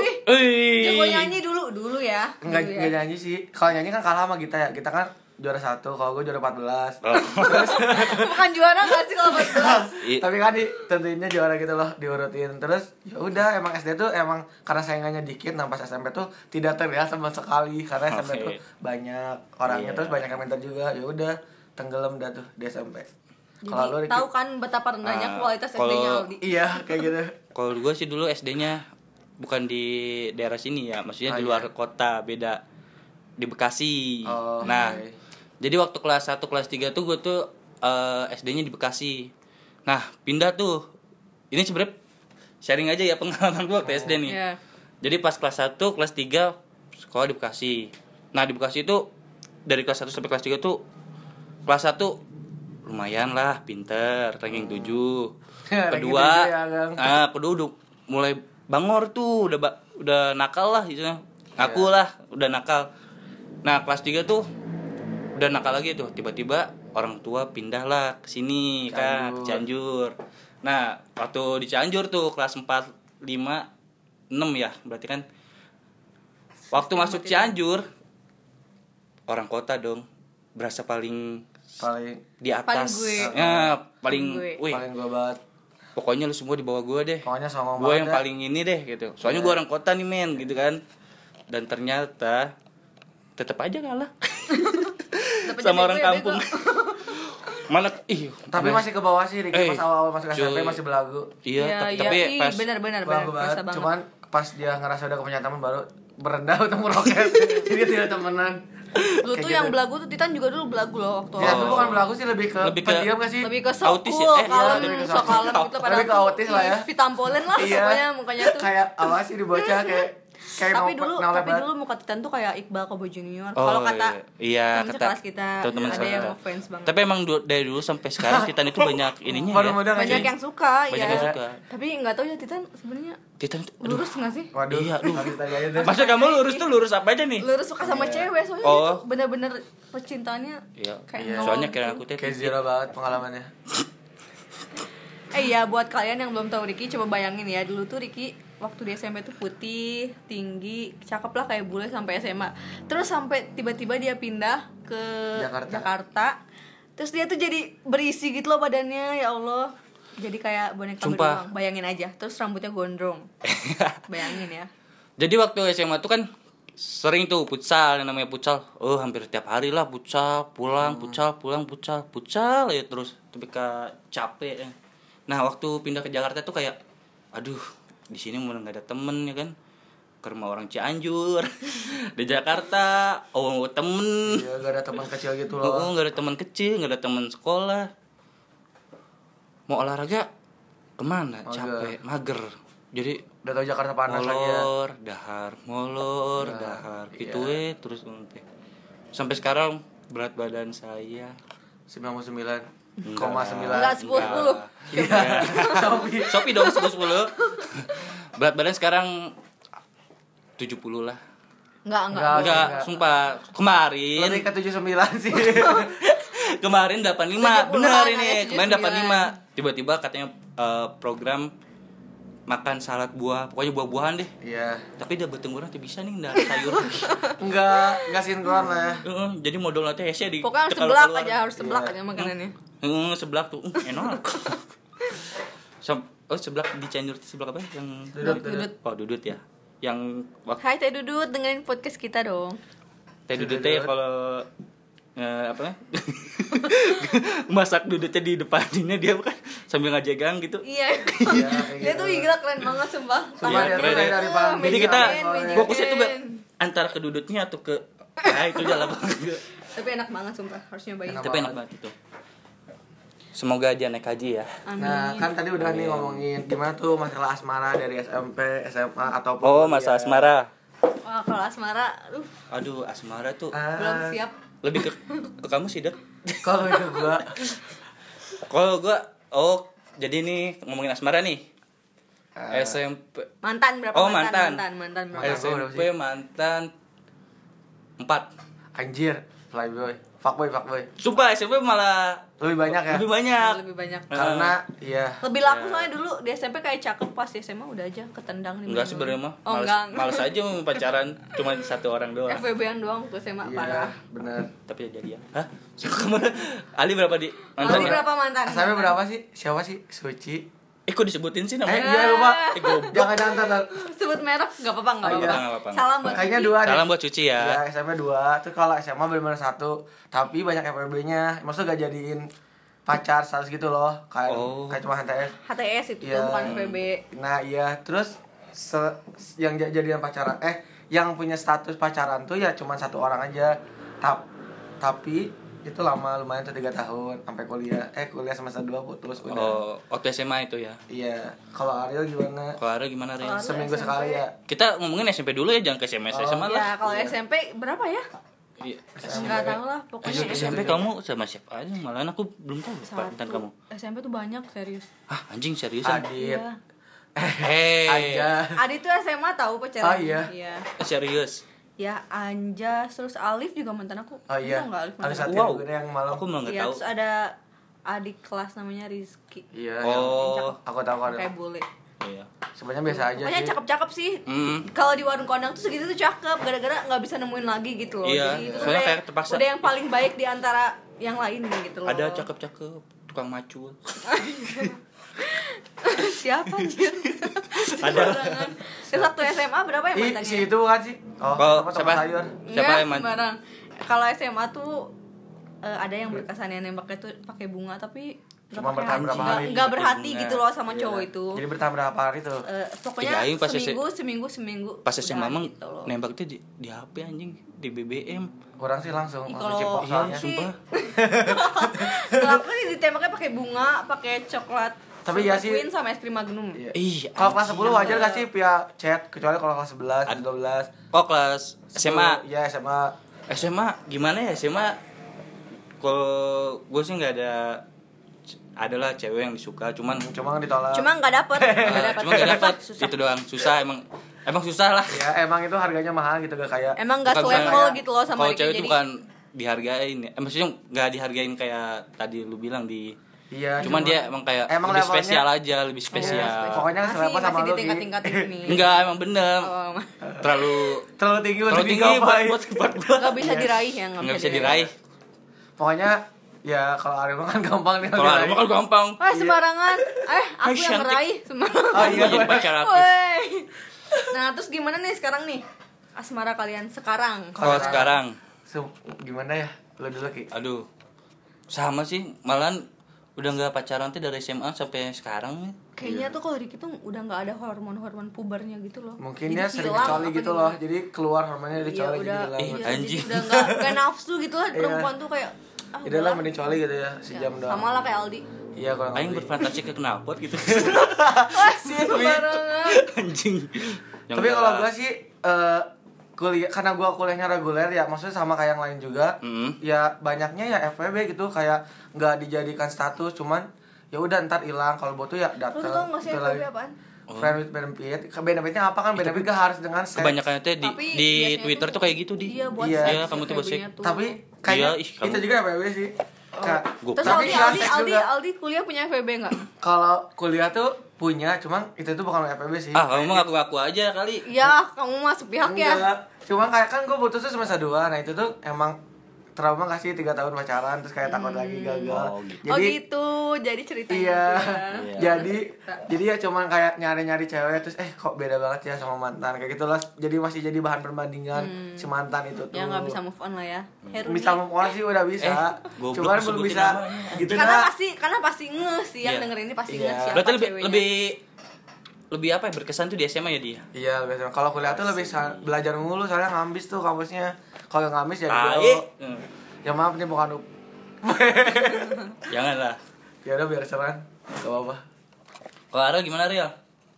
[SPEAKER 2] Eh.
[SPEAKER 3] Jago nyanyi dulu dulu ya.
[SPEAKER 1] nggak
[SPEAKER 3] dulu
[SPEAKER 1] nggak
[SPEAKER 3] ya.
[SPEAKER 1] nyanyi sih kalau nyanyi kan kalah sama kita ya kita kan juara satu kalau gue juara 14
[SPEAKER 2] Oh. *laughs*
[SPEAKER 3] Bukan juara gak sih kalau pas kelas?
[SPEAKER 2] I-
[SPEAKER 1] tapi kan ditentuinnya juara gitu loh diurutin terus ya udah emang SD tuh emang karena saingannya dikit nah pas SMP tuh tidak terlihat sama sekali karena SMP
[SPEAKER 2] Oke.
[SPEAKER 1] tuh banyak orangnya
[SPEAKER 2] Iya.
[SPEAKER 1] terus banyak yang minta juga ya udah tenggelam dah tuh di SMP
[SPEAKER 3] Jadi
[SPEAKER 1] kalau lu Ricky-
[SPEAKER 3] tahu kan betapa
[SPEAKER 2] Ah,
[SPEAKER 3] rendahnya kualitas
[SPEAKER 2] kalau-
[SPEAKER 3] SD-nya Aldi.
[SPEAKER 1] iya kayak gitu
[SPEAKER 2] Kalau gue sih
[SPEAKER 1] Ah,
[SPEAKER 2] dulu SD-nya bukan di daerah sini ya, maksudnya di luar kota, beda di Bekasi.
[SPEAKER 1] iya. Oh,
[SPEAKER 2] nah,
[SPEAKER 1] oke.
[SPEAKER 2] jadi waktu kelas 1 kelas 3 tuh gue tuh eh, SD-nya di Bekasi. Nah, pindah tuh. Ini sebenarnya sharing aja ya pengalaman gue waktu SD nih.
[SPEAKER 3] Iya.
[SPEAKER 2] Jadi pas kelas 1, kelas 3 sekolah di Bekasi. Nah, di Bekasi itu dari kelas 1 sampai kelas 3 tuh kelas 1 lumayan lah, pinter, ranking 7.
[SPEAKER 1] *laughs* Ranking
[SPEAKER 2] Kedua,
[SPEAKER 1] tujuh ya, Gang.
[SPEAKER 2] ah, kedua udah mulai bangor tuh, udah ba- udah nakal lah gitu. Aku
[SPEAKER 3] Iya.
[SPEAKER 2] lah udah nakal. Nah, kelas 3 tuh udah nakal lagi tuh. Tiba-tiba orang tua pindah lah ke sini kan, ke Cianjur. Nah, waktu di Cianjur tuh kelas 4, 5, 6 ya, berarti kan waktu masuk Cianjur orang kota dong berasa paling
[SPEAKER 1] paling
[SPEAKER 2] di
[SPEAKER 3] Paling
[SPEAKER 2] atas
[SPEAKER 3] gue.
[SPEAKER 2] Ya, paling
[SPEAKER 3] Paling gue.
[SPEAKER 2] wih,
[SPEAKER 1] paling gue banget
[SPEAKER 2] pokoknya lu semua di bawah gue deh
[SPEAKER 1] pokoknya songong
[SPEAKER 2] gue yang
[SPEAKER 1] banget ya.
[SPEAKER 2] paling ini deh gitu soalnya
[SPEAKER 1] Iya.
[SPEAKER 2] gue orang kota nih men gitu kan dan ternyata tetap aja kalah
[SPEAKER 3] Tetep aja
[SPEAKER 2] sama
[SPEAKER 3] bego
[SPEAKER 2] orang
[SPEAKER 3] ya,
[SPEAKER 2] kampung
[SPEAKER 3] bego.
[SPEAKER 2] mana ih
[SPEAKER 1] tapi
[SPEAKER 2] mana-
[SPEAKER 1] masih ke bawah sih Ricky
[SPEAKER 2] Eh,
[SPEAKER 1] pas awal-awal masuk
[SPEAKER 2] cuy.
[SPEAKER 1] SMP masih belagu
[SPEAKER 2] iya
[SPEAKER 3] Iya,
[SPEAKER 2] tapi,
[SPEAKER 3] iya,
[SPEAKER 2] tapi
[SPEAKER 3] Ih,
[SPEAKER 2] pas
[SPEAKER 3] benar-benar benar,
[SPEAKER 1] belagu
[SPEAKER 3] kerasa
[SPEAKER 1] banget
[SPEAKER 3] banget.
[SPEAKER 1] cuman pas dia ngerasa udah kepunya teman baru berendah untuk
[SPEAKER 3] *laughs*
[SPEAKER 1] meroket jadi tidak temenan
[SPEAKER 3] lu
[SPEAKER 1] Kayak
[SPEAKER 3] tuh
[SPEAKER 1] gitu.
[SPEAKER 3] yang belagu tuh Titan juga dulu belagu loh waktu
[SPEAKER 1] ya
[SPEAKER 3] awal.
[SPEAKER 1] itu bukan belagu sih lebih ke
[SPEAKER 2] Oh. Lebih ke-
[SPEAKER 1] pendiam gak sih
[SPEAKER 3] lebih ke sok
[SPEAKER 2] Iya. Autis ya?
[SPEAKER 3] cool,
[SPEAKER 2] Eh, iya,
[SPEAKER 3] kalem,
[SPEAKER 1] lebih ke
[SPEAKER 3] sok
[SPEAKER 1] sok-
[SPEAKER 3] kalem gitu
[SPEAKER 1] lebih
[SPEAKER 3] padahal
[SPEAKER 1] ke autis lah ya.
[SPEAKER 3] Vitampolin lah
[SPEAKER 1] Iya.
[SPEAKER 3] pokoknya mukanya tuh.
[SPEAKER 1] kayak awas sih di bocah kayak kayak
[SPEAKER 3] tapi
[SPEAKER 1] no-
[SPEAKER 3] dulu
[SPEAKER 1] no
[SPEAKER 3] tapi
[SPEAKER 1] lebar.
[SPEAKER 3] dulu muka Titan tuh kayak Iqbal Kobo Junior.
[SPEAKER 2] Oh,
[SPEAKER 3] Kalau kata
[SPEAKER 2] iya,
[SPEAKER 3] temen
[SPEAKER 2] kata
[SPEAKER 3] sekelas kita, iya,
[SPEAKER 2] temen
[SPEAKER 3] ada
[SPEAKER 2] sekelas
[SPEAKER 3] yang
[SPEAKER 2] kita.
[SPEAKER 3] offense banget.
[SPEAKER 2] Tapi emang du- dari dulu sampai sekarang Titan itu
[SPEAKER 1] *laughs*
[SPEAKER 2] banyak ininya
[SPEAKER 1] Baru
[SPEAKER 2] ya.
[SPEAKER 1] modal
[SPEAKER 3] banyak
[SPEAKER 1] anjing.
[SPEAKER 3] yang suka
[SPEAKER 2] Banyak
[SPEAKER 3] ya.
[SPEAKER 2] yang suka.
[SPEAKER 3] Tapi nggak tahu ya Titan sebenarnya
[SPEAKER 2] Titan itu aduh.
[SPEAKER 3] lurus nggak sih?
[SPEAKER 1] Waduh,
[SPEAKER 2] Iya, aduh.
[SPEAKER 1] harus tanya aja deh.
[SPEAKER 2] Maksud kamu lurus tuh lurus apa aja nih?
[SPEAKER 3] Lurus suka sama cewek soalnya
[SPEAKER 2] Oh.
[SPEAKER 3] dia tuh bener-bener percintaannya
[SPEAKER 2] Iya.
[SPEAKER 3] kayak
[SPEAKER 1] Iya.
[SPEAKER 3] nol
[SPEAKER 2] Soalnya
[SPEAKER 3] gitu.
[SPEAKER 2] kira aku tuh
[SPEAKER 1] Kayak zero banget
[SPEAKER 2] *laughs*
[SPEAKER 1] pengalamannya.
[SPEAKER 3] Eh iya buat kalian yang belum tahu Riki coba bayangin ya dulu tuh Riki waktu di SMP tuh putih, tinggi, cakep lah kayak bule sampai SMA. Terus sampai tiba-tiba dia pindah ke
[SPEAKER 1] Jakarta.
[SPEAKER 3] Terus dia tuh jadi berisi gitu loh badannya ya Allah. Jadi kayak boneka
[SPEAKER 2] Sumpah.
[SPEAKER 3] beruang, bayangin aja. Terus rambutnya
[SPEAKER 2] *laughs*
[SPEAKER 3] gondrong. bayangin ya.
[SPEAKER 2] Jadi waktu SMA tuh kan sering tuh futsal yang namanya futsal. Oh, hampir tiap hari lah futsal,
[SPEAKER 1] Hmm.
[SPEAKER 2] pulang, futsal, pulang, futsal, futsal ya terus. Tapi ka- capek. ya. Nah, waktu pindah ke Jakarta tuh kayak aduh, di sini mulai nggak ada temen ya kan ke rumah orang Cianjur *laughs* di Jakarta oh temen
[SPEAKER 1] Iya, gak ada teman kecil gitu
[SPEAKER 2] Oh,
[SPEAKER 1] loh.
[SPEAKER 2] nggak ada teman kecil, nggak ada teman sekolah. Mau olahraga kemana?
[SPEAKER 1] Mager.
[SPEAKER 2] Capek, mager. Jadi
[SPEAKER 1] Udah tau Jakarta panas Nah, iya. lagi ya.
[SPEAKER 2] molor, dahar, molor, dahar, gitu eh terus sampai sampai sekarang berat badan saya
[SPEAKER 1] 99,9 koma
[SPEAKER 3] Enggak
[SPEAKER 1] sembilan.
[SPEAKER 3] sepuluh sepuluh.
[SPEAKER 1] Iya. *laughs* Sopi.
[SPEAKER 2] Sopi dong 10
[SPEAKER 1] *laughs*
[SPEAKER 2] 10. berat badan sekarang 70 lah.
[SPEAKER 3] Enggak enggak.
[SPEAKER 1] Ah, iya, Enggak.
[SPEAKER 2] Enggak, sumpah. Kemarin
[SPEAKER 1] Lebih ke
[SPEAKER 3] *laughs*
[SPEAKER 1] 79 sih.
[SPEAKER 2] kemarin 85 benar
[SPEAKER 3] 70-an,
[SPEAKER 2] ini
[SPEAKER 1] iya,
[SPEAKER 3] ada
[SPEAKER 2] kemarin 85
[SPEAKER 3] 79.
[SPEAKER 2] tiba-tiba katanya eh, program makan salad buah pokoknya buah-buahan deh
[SPEAKER 1] Iya.
[SPEAKER 2] tapi udah bertengguran tuh bisa nih nggak ada
[SPEAKER 1] *laughs*
[SPEAKER 2] sayur
[SPEAKER 1] Enggak, enggak sinkron lah ya.
[SPEAKER 2] Heeh, jadi modal nanti esnya di
[SPEAKER 3] Pokoknya harus
[SPEAKER 2] kalau
[SPEAKER 3] seblak
[SPEAKER 2] keluar. Iya.
[SPEAKER 3] aja, harus seblak aja makanannya.
[SPEAKER 2] Heeh, seblak tuh Hmm, enak *laughs* Sem- oh seblak di Cianjur tuh seblak apa yang
[SPEAKER 1] Dudut,
[SPEAKER 3] dudut.
[SPEAKER 2] oh dudut ya yang waktu
[SPEAKER 3] Hai Teh Dudut, dengerin podcast kita dong.
[SPEAKER 2] teh dudutnya ya kalau eh, apa *laughs* ya? masak dudutnya di depannya dia bukan sambil ngajegang gitu
[SPEAKER 3] Iya. *laughs*
[SPEAKER 1] Iya, kayak
[SPEAKER 3] dia tuh gila keren banget sumpah.
[SPEAKER 1] Sama
[SPEAKER 2] Iya,
[SPEAKER 1] dia tuh
[SPEAKER 2] keren
[SPEAKER 1] kayak
[SPEAKER 2] ya.
[SPEAKER 1] dari paling
[SPEAKER 2] Jadi
[SPEAKER 1] tinggi
[SPEAKER 2] kita
[SPEAKER 1] sampai soalnya.
[SPEAKER 3] Bok-
[SPEAKER 2] fokusnya tuh Mbak, antara ke dudutnya atau ke Nah itu jalan banget
[SPEAKER 3] Tapi enak banget sumpah, harus nyobain.
[SPEAKER 1] Enak.
[SPEAKER 2] Tapi enak banget itu Semoga dia naik haji ya
[SPEAKER 3] Amin.
[SPEAKER 1] Nah, kan tadi udah nih ngomongin gimana tuh masalah asmara dari SMP, SMA ataupun
[SPEAKER 2] Oh masa asmara
[SPEAKER 3] Wah, kalau asmara, aduh,
[SPEAKER 2] Aduh asmara tuh
[SPEAKER 1] Ah,
[SPEAKER 3] belum siap.
[SPEAKER 2] Lebih ke, ke kamu sih Dek
[SPEAKER 1] Kalau itu gua
[SPEAKER 2] Kalau gua Oh jadi ini ngomongin asmara nih SMP
[SPEAKER 3] Mantan berapa
[SPEAKER 2] Oh, mantan.
[SPEAKER 3] mantan? mantan berapa?
[SPEAKER 1] Eh. Ah. gua berapa
[SPEAKER 2] SMP mantan Empat
[SPEAKER 1] anjir, flyboy, fuckboy, fuckboy.
[SPEAKER 2] Sumpah SMP malah
[SPEAKER 1] Lebih banyak ya.
[SPEAKER 2] Lebih Ah. banyak
[SPEAKER 3] Nah, Lebih banyak.
[SPEAKER 1] Karena iya.
[SPEAKER 3] Lebih
[SPEAKER 2] Ya.
[SPEAKER 3] laku soalnya dulu di SMP kayak cakep pas di SMA udah aja ketendang di
[SPEAKER 2] Enggak
[SPEAKER 3] mana-mana.
[SPEAKER 2] sebenarnya mah
[SPEAKER 3] Oh,
[SPEAKER 2] males,
[SPEAKER 3] enggak.
[SPEAKER 2] males aja mau pacaran Cuma satu orang doang
[SPEAKER 3] FBB-an doang ke SMA
[SPEAKER 1] Iya,
[SPEAKER 3] parah.
[SPEAKER 1] bener
[SPEAKER 2] tapi udah jadian hah *laughs* kemana Ali berapa di
[SPEAKER 3] Lalu
[SPEAKER 2] mantannya?
[SPEAKER 3] berapa mantan?
[SPEAKER 1] SMP
[SPEAKER 3] Mantan.
[SPEAKER 1] berapa sih? Siapa sih? Suci.
[SPEAKER 2] eh kok disebutin sih
[SPEAKER 1] Eh,
[SPEAKER 2] namanya
[SPEAKER 1] iya lupa.
[SPEAKER 2] Eh, goblok.
[SPEAKER 1] Jangan jangan jangan.
[SPEAKER 3] *laughs* Sebut merek enggak apa-apa, enggak
[SPEAKER 1] Oh, iya.
[SPEAKER 3] apa-apa.
[SPEAKER 2] Nggak apa-apa.
[SPEAKER 3] Salam buat
[SPEAKER 1] Kayaknya
[SPEAKER 3] Kiki.
[SPEAKER 1] dua deh.
[SPEAKER 2] salam buat cuci
[SPEAKER 1] Ya,
[SPEAKER 2] ya
[SPEAKER 1] SMP 2. Terus kalau SMA benar-benar satu, tapi banyak FPB-nya. Maksudnya gak jadiin pacar status gitu loh. Kayak
[SPEAKER 2] Oh.
[SPEAKER 1] kayak cuma HTS.
[SPEAKER 3] HTS itu
[SPEAKER 1] Iya.
[SPEAKER 3] bukan FBB.
[SPEAKER 1] Nah, iya. Terus se- yang ja- jadian pacaran eh yang punya status pacaran tuh ya cuma satu orang aja Tap- tapi itu lama lumayan tuh tiga tahun sampai kuliah eh kuliah semester 2 putus udah
[SPEAKER 2] Oh, waktu SMA itu ya.
[SPEAKER 1] iya kalau Ariel gimana
[SPEAKER 2] Kalau Ariel gimana Ariel?
[SPEAKER 3] Kalau-
[SPEAKER 1] seminggu
[SPEAKER 3] SMP.
[SPEAKER 1] sekali ya
[SPEAKER 2] Kita ngomongin SMP dulu ya, jangan ke SMA SMA lah.
[SPEAKER 3] Ya kalau SMP berapa ya?
[SPEAKER 2] Iya.
[SPEAKER 3] Nggak tahu lah
[SPEAKER 2] Ayo,
[SPEAKER 1] Oh,
[SPEAKER 3] pokoknya SMP.
[SPEAKER 2] SMP kamu sama siapa aja? Malahan aku belum tahu Pak, tentang kamu.
[SPEAKER 3] SMP tuh banyak serius.
[SPEAKER 2] Ah, anjing Eh, seriusan.
[SPEAKER 1] Adit
[SPEAKER 2] *laughs*
[SPEAKER 3] Iya.
[SPEAKER 1] *laughs*
[SPEAKER 2] Hei.
[SPEAKER 1] aja
[SPEAKER 3] Adi tuh SMA tahu
[SPEAKER 1] Ah,
[SPEAKER 3] pacaran.
[SPEAKER 1] iya.
[SPEAKER 3] Iya.
[SPEAKER 2] eh, Serius.
[SPEAKER 3] Ya Anjas terus Alif juga mantan aku.
[SPEAKER 1] oh
[SPEAKER 3] Lu
[SPEAKER 1] iya
[SPEAKER 3] tau nggak Alif
[SPEAKER 1] ada
[SPEAKER 3] mantan?
[SPEAKER 1] satu
[SPEAKER 2] Wow.
[SPEAKER 1] yang gede yang malam
[SPEAKER 2] Ah, Aku malah nggak
[SPEAKER 3] Iya
[SPEAKER 2] tahu.
[SPEAKER 3] terus ada adik kelas namanya Rizky.
[SPEAKER 1] iya
[SPEAKER 2] Oh.
[SPEAKER 1] yang- aku tahu kalau
[SPEAKER 3] Kayak bule.
[SPEAKER 2] Iya.
[SPEAKER 1] sebenarnya biasa aja
[SPEAKER 3] Pokoknya
[SPEAKER 1] sih
[SPEAKER 3] cakep-cakep sih.
[SPEAKER 2] Hmm.
[SPEAKER 3] Kalau di warung kondang tuh segitu tuh cakep, gara-gara nggak bisa nemuin lagi gitu loh.
[SPEAKER 2] Iya,
[SPEAKER 3] Jadi itu
[SPEAKER 2] soalnya
[SPEAKER 3] udah,
[SPEAKER 2] kayak terpaksa.
[SPEAKER 3] udah yang paling baik di antara yang lain gitu loh.
[SPEAKER 2] Ada cakep-cakep tukang macul.
[SPEAKER 3] *laughs*
[SPEAKER 1] Oh,
[SPEAKER 3] Siapa anjir?
[SPEAKER 2] Ada.
[SPEAKER 3] Sembarangan. Terus waktu SMA berapa ya
[SPEAKER 1] Ih,
[SPEAKER 3] mantannya?
[SPEAKER 1] si itu bukan sih oh
[SPEAKER 2] Kalau
[SPEAKER 1] apa
[SPEAKER 2] siapa?
[SPEAKER 1] tukang sayur Iya,
[SPEAKER 2] Siapa
[SPEAKER 3] Nggak,
[SPEAKER 2] yang man-
[SPEAKER 3] sembarang. Nah, Kalau SMA tuh eh, ada yang berkesannya nembaknya tuh pakai bunga tapi nggak
[SPEAKER 1] Cuma
[SPEAKER 3] pakai
[SPEAKER 1] bertahan
[SPEAKER 3] hati.
[SPEAKER 1] berapa
[SPEAKER 3] Nggak-
[SPEAKER 1] hari.
[SPEAKER 3] nggak berhati
[SPEAKER 2] Bunga.
[SPEAKER 3] gitu loh sama cowok
[SPEAKER 1] Iya.
[SPEAKER 3] itu.
[SPEAKER 1] jadi bertahan berapa hari tuh
[SPEAKER 3] Eh, pokoknya
[SPEAKER 2] Iya, aing pas
[SPEAKER 3] seminggu, seminggu, seminggu.
[SPEAKER 2] Pas SMA
[SPEAKER 3] udahan
[SPEAKER 2] emang
[SPEAKER 3] gitu loh.
[SPEAKER 2] nembak tuh di, di HP anjing, di BBM.
[SPEAKER 1] kurang sih langsung
[SPEAKER 3] Ih, kalau iya
[SPEAKER 1] langsung cipok soalnya
[SPEAKER 3] sih
[SPEAKER 2] Iya, sumpah.
[SPEAKER 3] *laughs* kalau aku sih ditembaknya pakai bunga pakai coklat
[SPEAKER 1] Tapi
[SPEAKER 3] Silver
[SPEAKER 1] ya sih-
[SPEAKER 3] Queen sama es krim magnum
[SPEAKER 1] Iya.
[SPEAKER 2] Ih,
[SPEAKER 1] kalau
[SPEAKER 2] anjing.
[SPEAKER 1] kelas 10 wajar gak sih via chat kecuali kalau kelas 11 12
[SPEAKER 2] Oh, kelas SMA.
[SPEAKER 1] Iya SMA
[SPEAKER 2] SMA gimana ya SMA kalau gue sih nggak ada adalah cewek yang disuka cuman
[SPEAKER 1] cuma ditolak
[SPEAKER 3] cuma nggak dapet
[SPEAKER 2] *laughs*
[SPEAKER 3] nggak
[SPEAKER 2] eh,
[SPEAKER 3] dapet
[SPEAKER 2] cuma gak dapet
[SPEAKER 3] Susah.
[SPEAKER 2] itu doang susah emang emang susah lah
[SPEAKER 1] ya emang itu harganya mahal gitu gak kayak
[SPEAKER 3] emang nggak
[SPEAKER 2] Bukan
[SPEAKER 3] selevel
[SPEAKER 1] kayak-
[SPEAKER 3] gitu loh sama
[SPEAKER 2] kalau
[SPEAKER 3] Ricky,
[SPEAKER 2] cewek itu
[SPEAKER 3] jadi-
[SPEAKER 2] bukan dihargain ya. Eh, maksudnya nggak dihargain kayak tadi lu bilang di
[SPEAKER 1] iya
[SPEAKER 2] cuman dia emang kayak
[SPEAKER 1] Emang
[SPEAKER 2] lebih
[SPEAKER 1] levelnya-
[SPEAKER 2] spesial aja lebih
[SPEAKER 1] Iya,
[SPEAKER 2] spesial
[SPEAKER 1] pokoknya nggak
[SPEAKER 3] masih
[SPEAKER 1] selevel sama
[SPEAKER 3] masih
[SPEAKER 1] lu
[SPEAKER 3] di tingkat tingkat ini
[SPEAKER 2] *laughs* enggak emang bener
[SPEAKER 3] Oh, *laughs* ma-
[SPEAKER 2] terlalu
[SPEAKER 1] terlalu tinggi
[SPEAKER 2] terlalu
[SPEAKER 1] untuk
[SPEAKER 2] tinggi buat
[SPEAKER 1] digapai.
[SPEAKER 2] buat buat gua
[SPEAKER 3] nggak
[SPEAKER 1] Iya.
[SPEAKER 3] bisa diraih ya
[SPEAKER 2] nggak bisa diraih
[SPEAKER 1] pokoknya ya kalau Ariel mah kan gampang nih
[SPEAKER 2] kalau ada kan gampang
[SPEAKER 1] Iya.
[SPEAKER 3] Wah Ah, sembarangan,
[SPEAKER 1] *laughs*
[SPEAKER 3] eh aku
[SPEAKER 2] Hai,
[SPEAKER 3] yang
[SPEAKER 2] cantik.
[SPEAKER 3] meraih sembarangan.
[SPEAKER 1] Oh, iya,
[SPEAKER 2] Gua jadi
[SPEAKER 1] bener.
[SPEAKER 2] pacar aku
[SPEAKER 3] Woi. Nah terus gimana nih sekarang nih asmara kalian sekarang?
[SPEAKER 2] kalau sekarang
[SPEAKER 1] Su- gimana ya lu dulu ki
[SPEAKER 2] Aduh, sama sih. Malahan udah nggak pacaran tuh dari SMA sampai sekarang nih.
[SPEAKER 3] Kayaknya
[SPEAKER 1] Iya.
[SPEAKER 3] tuh kalau Ricky tuh udah nggak ada hormon-hormon pubernya gitu loh.
[SPEAKER 1] mungkin
[SPEAKER 3] Jadi
[SPEAKER 1] dia sering
[SPEAKER 3] hilang
[SPEAKER 1] coli
[SPEAKER 3] apa
[SPEAKER 1] gitu
[SPEAKER 3] gimana?
[SPEAKER 1] loh jadi keluar hormonnya dari
[SPEAKER 3] Iya
[SPEAKER 1] coli
[SPEAKER 3] udah,
[SPEAKER 1] jadi
[SPEAKER 2] Ih,
[SPEAKER 1] hilang
[SPEAKER 3] iya, jadi
[SPEAKER 2] anjing.
[SPEAKER 3] udah nggak nggak nafsu gitu
[SPEAKER 1] *laughs*
[SPEAKER 3] lah perempuan tuh kayak ah,
[SPEAKER 1] jadi lah
[SPEAKER 3] udahlah.
[SPEAKER 1] mending coli gitu ya sejam doang
[SPEAKER 3] sama lah kayak
[SPEAKER 1] *laughs*
[SPEAKER 3] Aldi.
[SPEAKER 1] iya kurang
[SPEAKER 2] Aing
[SPEAKER 1] lebih
[SPEAKER 2] berfantasi ke knalpot
[SPEAKER 1] *laughs*
[SPEAKER 2] gitu.
[SPEAKER 3] Wah Ah, sembarangan.
[SPEAKER 2] Anjing. Yang
[SPEAKER 1] tapi
[SPEAKER 2] nggak
[SPEAKER 1] kalau
[SPEAKER 2] lah.
[SPEAKER 1] gua sih eh, kuliah karena gua kuliahnya reguler ya maksudnya sama kayak yang lain juga
[SPEAKER 2] Mm.
[SPEAKER 1] ya banyaknya ya FWB gitu kayak nggak dijadikan status cuman ya udah ntar hilang kalau butuh ya
[SPEAKER 3] Lu
[SPEAKER 1] datang
[SPEAKER 3] tuh tau nggak sih
[SPEAKER 1] Gitu
[SPEAKER 3] FWB
[SPEAKER 1] lagi.
[SPEAKER 3] apaan?
[SPEAKER 2] Oh.
[SPEAKER 1] friend with benefit Ke- benefitnya apa kan benefit gak harus dengan seks
[SPEAKER 2] kebanyakan tuh di
[SPEAKER 3] Tapi
[SPEAKER 2] di
[SPEAKER 3] biasanya tuh-
[SPEAKER 2] Twitter tuh kayak gitu di.
[SPEAKER 3] Iya buat
[SPEAKER 1] Iya.
[SPEAKER 3] seks gitu.
[SPEAKER 2] Iya, kamu tuh buat
[SPEAKER 3] FWB-nya tuh.
[SPEAKER 1] tapi kayaknya
[SPEAKER 2] Iya, ih, kamu-
[SPEAKER 1] itu juga FWB sih Ka-
[SPEAKER 2] Gua-
[SPEAKER 3] Oh. Terus Aldi,
[SPEAKER 1] Tapi nggak
[SPEAKER 3] Aldi,
[SPEAKER 1] seks *laughs*
[SPEAKER 3] Aldi,
[SPEAKER 1] juga.
[SPEAKER 3] Aldi kuliah punya FWB nggak?
[SPEAKER 1] kalau kuliah tuh punya cuman itu tuh bukan FWB sih
[SPEAKER 2] Ah, kamu mah ngaku-ngaku aja kali.
[SPEAKER 3] Ya, kamu mah sepihak ya.
[SPEAKER 1] Enggak. Cuma kayak kan gue putus tuh semester 2 Nah itu tuh emang trauma gak sih 3 tahun pacaran Terus kayak takut lagi gagal
[SPEAKER 2] Oh, gitu.
[SPEAKER 3] oh
[SPEAKER 1] Jadi
[SPEAKER 3] gitu, jadi ceritanya
[SPEAKER 1] Iya
[SPEAKER 3] gitu ya.
[SPEAKER 2] Iya.
[SPEAKER 1] Jadi Jadi ya cuman kayak nyari-nyari cewek Terus eh kok beda banget ya sama mantan Kayak gitu lah Jadi masih jadi bahan perbandingan Si mantan itu tuh
[SPEAKER 3] Ya nggak bisa move on lah ya. Heru
[SPEAKER 1] Bisa move on sih udah bisa
[SPEAKER 2] Eh, goblok
[SPEAKER 1] Cuman belum
[SPEAKER 2] disebutin
[SPEAKER 1] bisa
[SPEAKER 2] namanya.
[SPEAKER 1] Gitu
[SPEAKER 3] karena
[SPEAKER 1] nah
[SPEAKER 3] pasti karena pasti ngeh sih yang
[SPEAKER 2] Iya.
[SPEAKER 3] dengerin ini pasti
[SPEAKER 1] Iya.
[SPEAKER 3] ngeh siapa
[SPEAKER 2] Berarti lebih
[SPEAKER 3] ceweknya.
[SPEAKER 2] lebih lebih apa ya berkesan tuh di SMA ya dia.
[SPEAKER 1] Iya biasanya kalau kuliah tuh lebih sa- belajar mulu soalnya ngambis tuh kampusnya kalau nggak ngambis ya
[SPEAKER 2] Tai.
[SPEAKER 1] gitu.
[SPEAKER 2] Hmm.
[SPEAKER 1] Ya maaf nih bukan up.
[SPEAKER 2] Janganlah.
[SPEAKER 1] ya udah biar serang. Gak apa-apa.
[SPEAKER 2] Kalau Ariel gimana Ariel?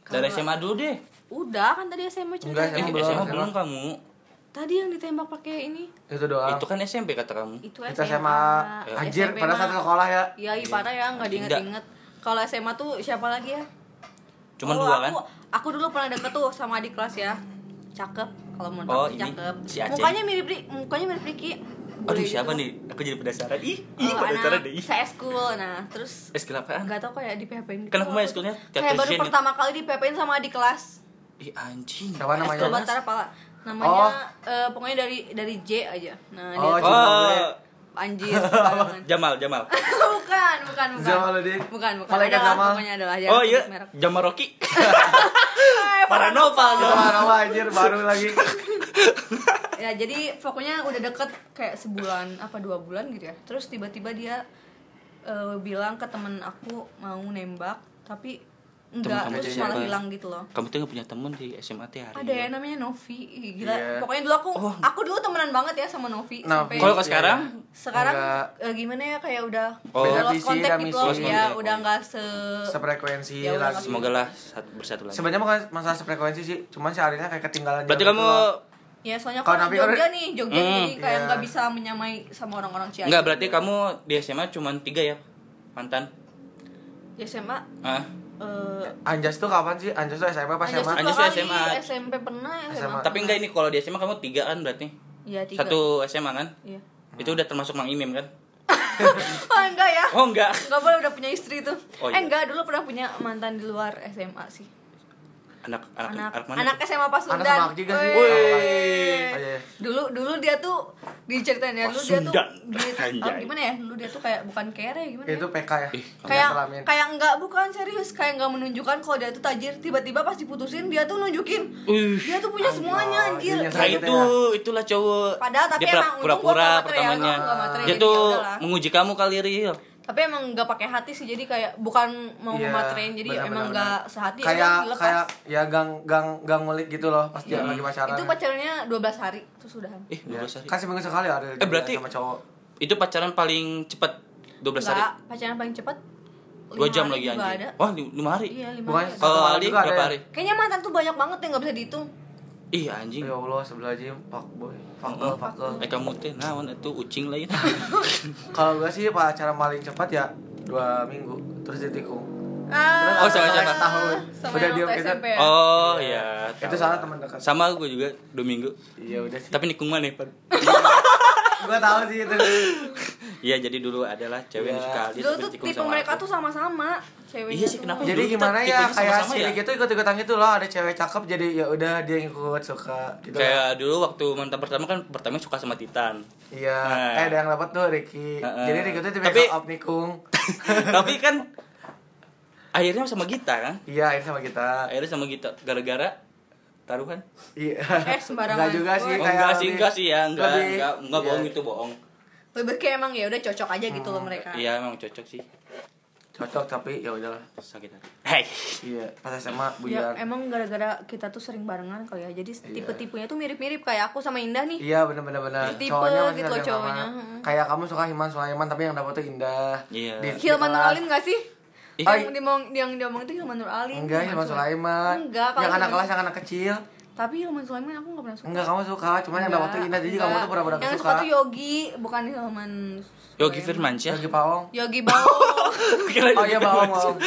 [SPEAKER 2] Dari SMA dulu deh.
[SPEAKER 3] udah kan tadi SMA cerita.
[SPEAKER 1] Enggak,
[SPEAKER 2] Eh,
[SPEAKER 1] SMA belum.
[SPEAKER 2] SMA belum kamu.
[SPEAKER 3] Tadi yang ditembak pakai ini
[SPEAKER 1] Itu doang.
[SPEAKER 2] Itu Eh. kan SMP kata kamu.
[SPEAKER 3] itu
[SPEAKER 1] Itu SMA anjir
[SPEAKER 3] SMP
[SPEAKER 1] pada
[SPEAKER 3] mah.
[SPEAKER 1] satu sekolah ya.
[SPEAKER 3] Iya, iya, parah ya nggak diinget-inget. Kalau SMA tuh siapa lagi ya?
[SPEAKER 2] Cuman
[SPEAKER 3] Oh,
[SPEAKER 2] dua kan?
[SPEAKER 3] aku, Aku dulu pernah deket tuh sama adik kelas ya. Cakep kalau menurut
[SPEAKER 2] Oh,
[SPEAKER 3] aku
[SPEAKER 2] ini
[SPEAKER 3] cakep.
[SPEAKER 2] si Aceh.
[SPEAKER 3] mukanya mirip Ri- mukanya mirip Ricky. Bule
[SPEAKER 2] Aduh
[SPEAKER 3] gitu.
[SPEAKER 2] siapa nih? Aku jadi penasaran. Ih, ih
[SPEAKER 3] Oh,
[SPEAKER 2] penasaran
[SPEAKER 3] anak
[SPEAKER 2] deh. Ih.
[SPEAKER 3] saya school. Nah, terus
[SPEAKER 2] Es kelapaan.
[SPEAKER 3] nggak tau kayak di PHP gitu.
[SPEAKER 2] Kenapa
[SPEAKER 3] Aku
[SPEAKER 2] ya schoolnya?
[SPEAKER 3] tuh
[SPEAKER 2] Tiap
[SPEAKER 3] Kayak baru
[SPEAKER 2] session gitu.
[SPEAKER 3] pertama kali di PHP sama adik kelas.
[SPEAKER 2] Ih anjing.
[SPEAKER 1] Siapa namanya?
[SPEAKER 2] Kelas.
[SPEAKER 3] Kobatara pala. Namanya eh, pokoknya dari dari J aja. Nah, dia
[SPEAKER 1] Oh,
[SPEAKER 3] tuh-
[SPEAKER 1] Cuma gue.
[SPEAKER 2] Oh,
[SPEAKER 3] anjir. bayangan.
[SPEAKER 2] Jamal, Jamal.
[SPEAKER 3] *laughs* bukan, bukan, bukan.
[SPEAKER 1] Jamaluddin.
[SPEAKER 3] Bukan, bukan.
[SPEAKER 1] Malaikat
[SPEAKER 3] Adalah,
[SPEAKER 1] Jamal.
[SPEAKER 3] Pokoknya adalah jangan
[SPEAKER 2] Oh iya,
[SPEAKER 3] sebut merek.
[SPEAKER 2] Jamal Rocky.
[SPEAKER 3] Eh,
[SPEAKER 2] Paranova dong.
[SPEAKER 1] Nama-nama anjir baru
[SPEAKER 3] *laughs*
[SPEAKER 1] lagi.
[SPEAKER 3] ya jadi pokoknya udah deket kayak sebulan apa dua bulan gitu ya terus tiba-tiba dia eh, bilang ke temen aku mau nembak tapi enggak
[SPEAKER 2] kamu
[SPEAKER 3] terus
[SPEAKER 2] siapa?
[SPEAKER 3] malah hilang gitu loh
[SPEAKER 2] Kamu tuh gak punya temen di SMA teh hari
[SPEAKER 3] ada ya namanya Novi Ih, gila
[SPEAKER 1] Iya.
[SPEAKER 3] pokoknya dulu aku aku dulu temenan banget ya sama Novi sampai
[SPEAKER 1] Novi.
[SPEAKER 2] Kalau
[SPEAKER 1] Iya.
[SPEAKER 2] ke sekarang
[SPEAKER 3] sekarang
[SPEAKER 1] Enggak.
[SPEAKER 3] eh, gimana ya kayak udah
[SPEAKER 2] Oh.
[SPEAKER 3] udah
[SPEAKER 1] Beda
[SPEAKER 3] lost
[SPEAKER 1] visi,
[SPEAKER 3] contact
[SPEAKER 1] dah
[SPEAKER 3] gitu
[SPEAKER 1] misi.
[SPEAKER 3] loh
[SPEAKER 1] Lost
[SPEAKER 3] ya
[SPEAKER 2] contact.
[SPEAKER 3] udah nggak se
[SPEAKER 1] Sefrekuensi
[SPEAKER 3] Ya udah,
[SPEAKER 1] lagi.
[SPEAKER 2] semoga lah satu bersatu lagi.
[SPEAKER 1] Sebenarnya bukan masalah sefrekuensi sih, cuman si Arinnya kayak ketinggalan
[SPEAKER 2] Berarti
[SPEAKER 1] jauh
[SPEAKER 2] kamu
[SPEAKER 1] gitu loh.
[SPEAKER 3] ya soalnya
[SPEAKER 1] Kalau
[SPEAKER 3] kalau
[SPEAKER 1] Novi
[SPEAKER 3] Jogja
[SPEAKER 1] kan-
[SPEAKER 3] nih Jogja
[SPEAKER 2] Hmm.
[SPEAKER 3] jadi kayak
[SPEAKER 1] Iya.
[SPEAKER 3] nggak bisa menyamai sama orang-orang Cianjur
[SPEAKER 2] nggak berarti kamu di SMA cuman tiga ya mantan?
[SPEAKER 3] di SMA
[SPEAKER 2] Ah,
[SPEAKER 3] eh,
[SPEAKER 1] Anjas tuh kapan sih? Anjas tuh SMA pas
[SPEAKER 3] Anjas
[SPEAKER 1] SMA.
[SPEAKER 2] Anjas
[SPEAKER 3] Anjas
[SPEAKER 2] tuh
[SPEAKER 3] tuh
[SPEAKER 2] SMA.
[SPEAKER 3] SMA. SMP pernah, SMA.
[SPEAKER 1] SMA.
[SPEAKER 2] tapi enggak ini kalau di SMA kamu tiga kan berarti
[SPEAKER 3] Iya, tiga.
[SPEAKER 2] satu SMA kan?
[SPEAKER 3] Iya. *laughs*
[SPEAKER 2] Itu udah termasuk Mang Imim kan?
[SPEAKER 3] Oh, enggak ya.
[SPEAKER 2] Oh enggak.
[SPEAKER 3] Enggak boleh udah punya istri tuh.
[SPEAKER 2] Oh,
[SPEAKER 3] Eh,
[SPEAKER 2] iya.
[SPEAKER 3] enggak, dulu pernah punya mantan di luar SMA sih.
[SPEAKER 2] Anak anak anak,
[SPEAKER 3] Anak
[SPEAKER 2] mana?
[SPEAKER 3] anak SMA Pasundan.
[SPEAKER 1] Anak sama Akji gak sih?
[SPEAKER 3] Weh.
[SPEAKER 1] Wih. Oh, iya.
[SPEAKER 3] Dulu dulu dia tuh diceritain ya, dulu dia tuh
[SPEAKER 2] Pasundan.
[SPEAKER 3] dia, oh,
[SPEAKER 2] *laughs* Anjay.
[SPEAKER 3] gimana ya? Dulu dia tuh kayak bukan kere gimana? ya?
[SPEAKER 1] Itu PK ya.
[SPEAKER 2] Ih,
[SPEAKER 3] kayak
[SPEAKER 1] kelamin.
[SPEAKER 3] kayak enggak bukan serius kayak enggak menunjukkan kalau dia tuh tajir tiba-tiba pas diputusin dia tuh nunjukin
[SPEAKER 2] Wih.
[SPEAKER 3] dia tuh punya semuanya anjir
[SPEAKER 1] Iya,
[SPEAKER 2] Nah
[SPEAKER 1] Gitu
[SPEAKER 2] itu itulah cowok.
[SPEAKER 3] Padahal tapi
[SPEAKER 2] dia pura-
[SPEAKER 3] emang untung
[SPEAKER 2] pura-pura
[SPEAKER 3] gua nggak materi ya,
[SPEAKER 2] pertamanya.
[SPEAKER 3] gua nggak materi,
[SPEAKER 2] Dia
[SPEAKER 3] jadi
[SPEAKER 2] tuh
[SPEAKER 3] ya udahlah.
[SPEAKER 2] menguji kamu kali real.
[SPEAKER 3] tapi emang nggak pakai hati sih jadi kayak bukan mau
[SPEAKER 1] Iya,
[SPEAKER 3] mematerin jadi
[SPEAKER 1] benar,
[SPEAKER 3] emang
[SPEAKER 1] benar,
[SPEAKER 3] nggak
[SPEAKER 1] benar.
[SPEAKER 3] sehati ya
[SPEAKER 1] kayak
[SPEAKER 3] udah dilepas. Iya.
[SPEAKER 1] kayak ya gang gang gang ngulik gitu loh pas dia lagi pacaran.
[SPEAKER 3] itu pacarnya 12 hari terus udahan
[SPEAKER 2] Ih,
[SPEAKER 1] Ya.
[SPEAKER 2] 12 hari.
[SPEAKER 1] Kan seminggu sekali ada
[SPEAKER 2] Iya. Eh, berarti-
[SPEAKER 1] sama cowok.
[SPEAKER 2] Itu pacaran paling cepat 12 hari.
[SPEAKER 3] nggak pacaran paling cepat
[SPEAKER 2] Dua jam lagi
[SPEAKER 3] juga
[SPEAKER 2] anjing.
[SPEAKER 3] ada
[SPEAKER 2] Wah, 5 hari.
[SPEAKER 3] iya lima
[SPEAKER 1] Bukan
[SPEAKER 3] hari ada.
[SPEAKER 1] Satu
[SPEAKER 2] Kalau
[SPEAKER 1] malam
[SPEAKER 2] Ali
[SPEAKER 1] juga ada
[SPEAKER 2] berapa
[SPEAKER 1] ya?
[SPEAKER 2] hari?
[SPEAKER 3] kayaknya mantan tuh banyak banget yang nggak bisa dihitung
[SPEAKER 2] Ih, anjing.
[SPEAKER 1] Ya Allah, sebelah aja fuck boy. Fuck girl, fuck girl.
[SPEAKER 2] Eh kamu teh naon itu ucing
[SPEAKER 1] *laughs*
[SPEAKER 2] lain.
[SPEAKER 1] Kalau gue sih pacaran paling cepat ya dua minggu terus ditikung.
[SPEAKER 3] ah,
[SPEAKER 2] Oh, sama siapa?
[SPEAKER 1] Tahun.
[SPEAKER 3] sama
[SPEAKER 1] Udah
[SPEAKER 3] yang
[SPEAKER 1] diem
[SPEAKER 3] waktu
[SPEAKER 1] kita.
[SPEAKER 3] SMP ya?
[SPEAKER 2] *laughs* oh ya.
[SPEAKER 1] Itu salah teman dekat.
[SPEAKER 2] Sama gue juga dua minggu.
[SPEAKER 1] Iya udah sih.
[SPEAKER 2] Tapi nikung mana Pan?
[SPEAKER 1] Gue tahu sih itu.
[SPEAKER 2] Iya jadi dulu adalah cewek yang
[SPEAKER 1] Iya.
[SPEAKER 2] suka Ali
[SPEAKER 3] dulu
[SPEAKER 2] tapi
[SPEAKER 3] tuh
[SPEAKER 2] nikung
[SPEAKER 3] tipe
[SPEAKER 2] sama
[SPEAKER 3] mereka
[SPEAKER 2] aku.
[SPEAKER 3] tuh sama-sama ceweknya
[SPEAKER 2] Iya sih,
[SPEAKER 3] tuh.
[SPEAKER 2] kenapa?
[SPEAKER 1] Jadi
[SPEAKER 2] Dulu kita
[SPEAKER 1] gimana ya
[SPEAKER 2] tipenya
[SPEAKER 1] kayak
[SPEAKER 2] sama-sama
[SPEAKER 1] si
[SPEAKER 2] ya?
[SPEAKER 1] Riki tuh ikut-ikutan gitu loh, ada cewek cakep jadi ya udah dia ikut suka gitu.
[SPEAKER 2] Kayak dulu waktu mantan pertama kan pertama suka sama Titan.
[SPEAKER 1] *laughs* Iya,
[SPEAKER 2] Nah.
[SPEAKER 1] eh ada yang dapat tuh Riki.
[SPEAKER 2] Heeh.
[SPEAKER 1] Jadi Riki tuh tipe
[SPEAKER 2] Tapi-
[SPEAKER 1] up nikung.
[SPEAKER 2] tapi kan akhirnya sama Gita kan?
[SPEAKER 1] Iya, ini sama kita.
[SPEAKER 2] Akhirnya sama Gita gara-gara taruhan.
[SPEAKER 1] Iya.
[SPEAKER 3] Eh, sembarangan.
[SPEAKER 1] Enggak juga sih
[SPEAKER 3] Oh,
[SPEAKER 2] Oh,
[SPEAKER 1] kayak
[SPEAKER 2] enggak sih,
[SPEAKER 1] lebih-
[SPEAKER 2] enggak sih ya, enggak,
[SPEAKER 1] lebih-
[SPEAKER 2] enggak, enggak
[SPEAKER 1] iya.
[SPEAKER 2] bohong gitu. itu bohong.
[SPEAKER 3] lebih kayak emang ya udah cocok aja gitu
[SPEAKER 1] Hmm,
[SPEAKER 3] loh mereka
[SPEAKER 2] Iya, memang cocok sih.
[SPEAKER 1] Cocok tapi ya udahlah.
[SPEAKER 2] Sakit hati. Hei.
[SPEAKER 1] Iya, pas SMA
[SPEAKER 3] Ya,
[SPEAKER 1] buyar.
[SPEAKER 3] emang gara-gara kita tuh sering barengan kali ya. Jadi tipe-tipenya tuh mirip-mirip kayak aku sama Indah nih.
[SPEAKER 1] Iya bener-bener bener.
[SPEAKER 3] Tipe
[SPEAKER 1] Cowoknya
[SPEAKER 3] gitu
[SPEAKER 1] masih
[SPEAKER 3] loh,
[SPEAKER 1] ada yang sama.
[SPEAKER 3] cowoknya. Heeh.
[SPEAKER 1] Kayak kamu suka Himan Sulaiman tapi yang dapat tuh Indah.
[SPEAKER 2] Iya.
[SPEAKER 1] Di- di
[SPEAKER 3] Hilman
[SPEAKER 1] kelas. Iya.
[SPEAKER 3] Nur Alim gak sih?
[SPEAKER 2] Ih.
[SPEAKER 3] Yang diomong yang diomong itu Hilman Nur Alim.
[SPEAKER 1] Enggak, Himan Sulaiman.
[SPEAKER 3] Enggak, kalau
[SPEAKER 1] Yang anak
[SPEAKER 3] Hilman-
[SPEAKER 1] kelas, yang anak kecil.
[SPEAKER 3] Tapi Hilman Sulaiman aku gak pernah suka.
[SPEAKER 1] Enggak, kamu suka. Cuman yang dapat tuh Indah. Jadi kamu
[SPEAKER 3] enggak.
[SPEAKER 1] tuh pura-pura
[SPEAKER 3] Yang suka tuh Yogi, bukan Hilman.
[SPEAKER 2] Yogi
[SPEAKER 3] Sulaiman.
[SPEAKER 2] Firmansyah. *laughs*
[SPEAKER 1] Yogi Pawong.
[SPEAKER 3] Yogi
[SPEAKER 1] *laughs*
[SPEAKER 3] Bawong.
[SPEAKER 2] Kira
[SPEAKER 1] Oh
[SPEAKER 2] Yogi
[SPEAKER 1] iya, Bawong,
[SPEAKER 2] Firmansyah.
[SPEAKER 1] Bawong.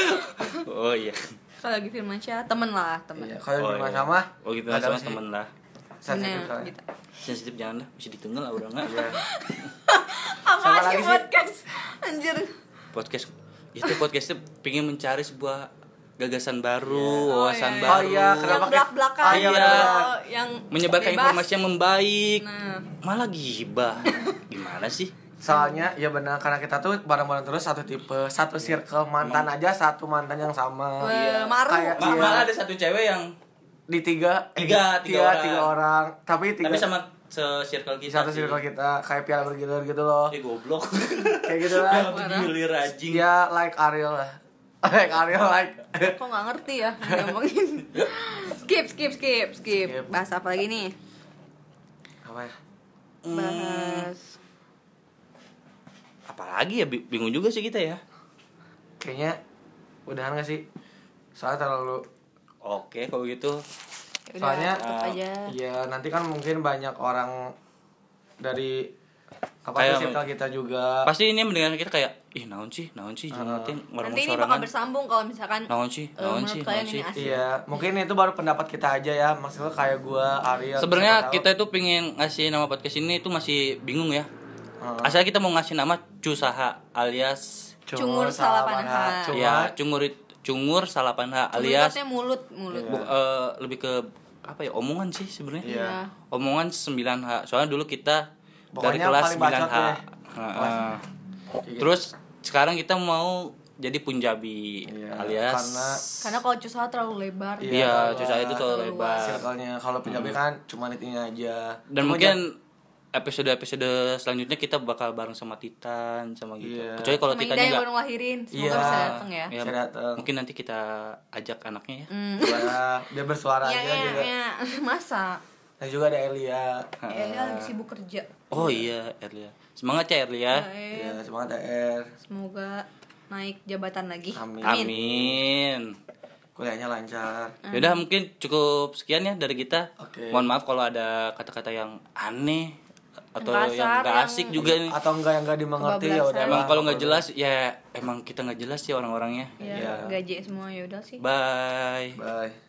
[SPEAKER 2] Oh iya.
[SPEAKER 3] Kalau Yogi Firmansyah temen lah, temen.
[SPEAKER 1] Iya,
[SPEAKER 2] Oh,
[SPEAKER 1] kalau di rumah
[SPEAKER 2] iya.
[SPEAKER 1] sama.
[SPEAKER 2] Oh gitu
[SPEAKER 1] nggak tahu
[SPEAKER 2] sama
[SPEAKER 1] sih.
[SPEAKER 2] temen lah.
[SPEAKER 1] Sensitif
[SPEAKER 3] Bener,
[SPEAKER 1] soalnya.
[SPEAKER 3] gitu.
[SPEAKER 2] Sensitif jangan lah, masih ditengel lah orang ah. enggak.
[SPEAKER 1] Iya. Sama
[SPEAKER 3] Apa
[SPEAKER 1] lagi
[SPEAKER 3] sih
[SPEAKER 1] sih.
[SPEAKER 3] podcast? Anjir.
[SPEAKER 2] podcast itu podcastnya pengen mencari sebuah gagasan baru,
[SPEAKER 3] Oh,
[SPEAKER 2] wawasan
[SPEAKER 3] iya, iya.
[SPEAKER 2] baru,
[SPEAKER 1] Oh, iya,
[SPEAKER 3] Yang
[SPEAKER 1] kenapa kayak-
[SPEAKER 3] belak-belakan.
[SPEAKER 2] Iya.
[SPEAKER 3] gitu, Yang
[SPEAKER 2] menyebarkan
[SPEAKER 3] bebas.
[SPEAKER 2] informasi yang membaik,
[SPEAKER 3] Nah.
[SPEAKER 2] malah gibah. Gimana sih?
[SPEAKER 1] Soalnya ya benar karena kita tuh bareng-bareng terus satu tipe, satu
[SPEAKER 2] Iya.
[SPEAKER 1] circle mantan aja satu mantan yang sama.
[SPEAKER 3] Weh, maru.
[SPEAKER 1] Kayak
[SPEAKER 2] Ma-
[SPEAKER 1] iya,
[SPEAKER 2] Malah ada satu cewek yang
[SPEAKER 1] di tiga, eh,
[SPEAKER 2] Tiga, tiga orang.
[SPEAKER 1] tiga orang. Tapi tiga
[SPEAKER 2] tapi sama se-circle
[SPEAKER 1] di
[SPEAKER 2] kita
[SPEAKER 1] satu
[SPEAKER 2] sih.
[SPEAKER 1] circle kita kayak piala bergilir gitu loh.
[SPEAKER 2] Eh goblok.
[SPEAKER 1] Kayak gitu lah.
[SPEAKER 2] Dapat gilir anjing.
[SPEAKER 1] Dia like Ariel lah. *laughs* Like Ariel like.
[SPEAKER 3] Kok nggak ngerti ya ngomongin. skip, skip, skip, skip.
[SPEAKER 1] Skip.
[SPEAKER 3] Bahas apa lagi nih?
[SPEAKER 1] Apa ya?
[SPEAKER 3] Bahas.
[SPEAKER 2] Apalagi ya bi- bingung juga sih kita ya.
[SPEAKER 1] Kayaknya udahan gak sih? Soalnya terlalu
[SPEAKER 2] Oke, kalau gitu
[SPEAKER 3] Ya udah,
[SPEAKER 1] Soalnya
[SPEAKER 3] tutup
[SPEAKER 2] eh,
[SPEAKER 3] aja.
[SPEAKER 1] ya nanti kan mungkin banyak orang dari apa
[SPEAKER 2] Kayak-
[SPEAKER 1] tuh circle kita juga.
[SPEAKER 2] pasti ini mendengar kita kayak ih naon sih, naon sih jangan nanti ngomong
[SPEAKER 3] Nanti Ah. ini bakal
[SPEAKER 2] sorangan.
[SPEAKER 3] bersambung kalau misalkan
[SPEAKER 2] Naon sih,
[SPEAKER 3] eh,
[SPEAKER 2] naon
[SPEAKER 3] menurut
[SPEAKER 2] sih,
[SPEAKER 3] kalian
[SPEAKER 2] naon
[SPEAKER 3] ini
[SPEAKER 2] sih.
[SPEAKER 3] asik.
[SPEAKER 1] Iya, mungkin itu baru pendapat kita aja ya. Maksudnya kayak gua, Ariel.
[SPEAKER 2] Sebenarnya
[SPEAKER 1] Iya, siapa
[SPEAKER 2] kita itu pengen ngasih nama podcast ini itu masih bingung ya.
[SPEAKER 1] Heeh.
[SPEAKER 2] Asal kita mau ngasih nama Cusaha alias
[SPEAKER 1] tahu.
[SPEAKER 3] Cungur salah panha.
[SPEAKER 1] Salapanha. Cuma
[SPEAKER 2] ya cungur cungur salapanha alias
[SPEAKER 3] Alias mulut, mulut.
[SPEAKER 2] bu- eh, lebih ke apa ya omongan sih sebenarnya.
[SPEAKER 1] Iya.
[SPEAKER 3] Iya.
[SPEAKER 2] Omongan 9H. Soalnya dulu kita dari
[SPEAKER 1] Pokoknya
[SPEAKER 2] kelas
[SPEAKER 1] paling
[SPEAKER 2] 9H.
[SPEAKER 1] bacot deh.
[SPEAKER 2] Heeh.
[SPEAKER 1] Kelas- Iya.
[SPEAKER 2] Terus sekarang kita mau jadi Punjabi
[SPEAKER 1] Iya,
[SPEAKER 2] alias
[SPEAKER 1] karena-
[SPEAKER 3] Karena kalau cusah terlalu lebar.
[SPEAKER 1] Iya.
[SPEAKER 2] Iya,
[SPEAKER 1] luas.
[SPEAKER 2] Cusaha itu terlalu
[SPEAKER 3] Terlalu luas.
[SPEAKER 2] lebar.
[SPEAKER 1] circle-nya kalau Punjabi kan cuma itu aja.
[SPEAKER 2] Hmm. Dan
[SPEAKER 1] Cuma
[SPEAKER 2] mungkin
[SPEAKER 1] ja-
[SPEAKER 2] episode-episode selanjutnya kita bakal bareng sama Titan sama gitu.
[SPEAKER 1] Iya.
[SPEAKER 2] Kecuali kalau
[SPEAKER 3] Sama
[SPEAKER 2] Titan
[SPEAKER 3] Indah yang
[SPEAKER 2] enggak.
[SPEAKER 3] baru ngelahirin semoga
[SPEAKER 1] Iya.
[SPEAKER 3] bisa datang ya
[SPEAKER 2] Ya,
[SPEAKER 1] Bisa datang.
[SPEAKER 2] mungkin nanti kita ajak anaknya ya.
[SPEAKER 3] Mm.
[SPEAKER 1] Suara- dia bersuara
[SPEAKER 3] Iya,
[SPEAKER 1] aja
[SPEAKER 3] iya,
[SPEAKER 1] juga.
[SPEAKER 3] iya. *laughs* masa
[SPEAKER 1] Dan juga ada Elia.
[SPEAKER 2] Ah.
[SPEAKER 3] ya dia lagi sibuk kerja Eh.
[SPEAKER 2] Oh iya, Erlia. Semangat ya Erlia.
[SPEAKER 3] Baik.
[SPEAKER 1] Ya, semangat TR.
[SPEAKER 3] semoga naik jabatan lagi
[SPEAKER 1] Amin.
[SPEAKER 2] Amin.
[SPEAKER 1] Kuliahnya lancar.
[SPEAKER 3] Mm.
[SPEAKER 2] Yaudah mungkin cukup sekian ya dari kita.
[SPEAKER 1] Oke.
[SPEAKER 2] Mohon maaf kalau ada kata-kata yang aneh atau
[SPEAKER 3] Yang kasar,
[SPEAKER 2] yang gak
[SPEAKER 3] yang-
[SPEAKER 2] asik juga nih.
[SPEAKER 1] Atau enggak yang enggak dimengerti ya udah.
[SPEAKER 2] Emang
[SPEAKER 1] lah.
[SPEAKER 2] kalau nggak jelas
[SPEAKER 1] Iya.
[SPEAKER 2] ya emang kita nggak jelas ya orang-orangnya.
[SPEAKER 3] ya gaji semua ya udah sih
[SPEAKER 2] Bye.
[SPEAKER 1] Bye.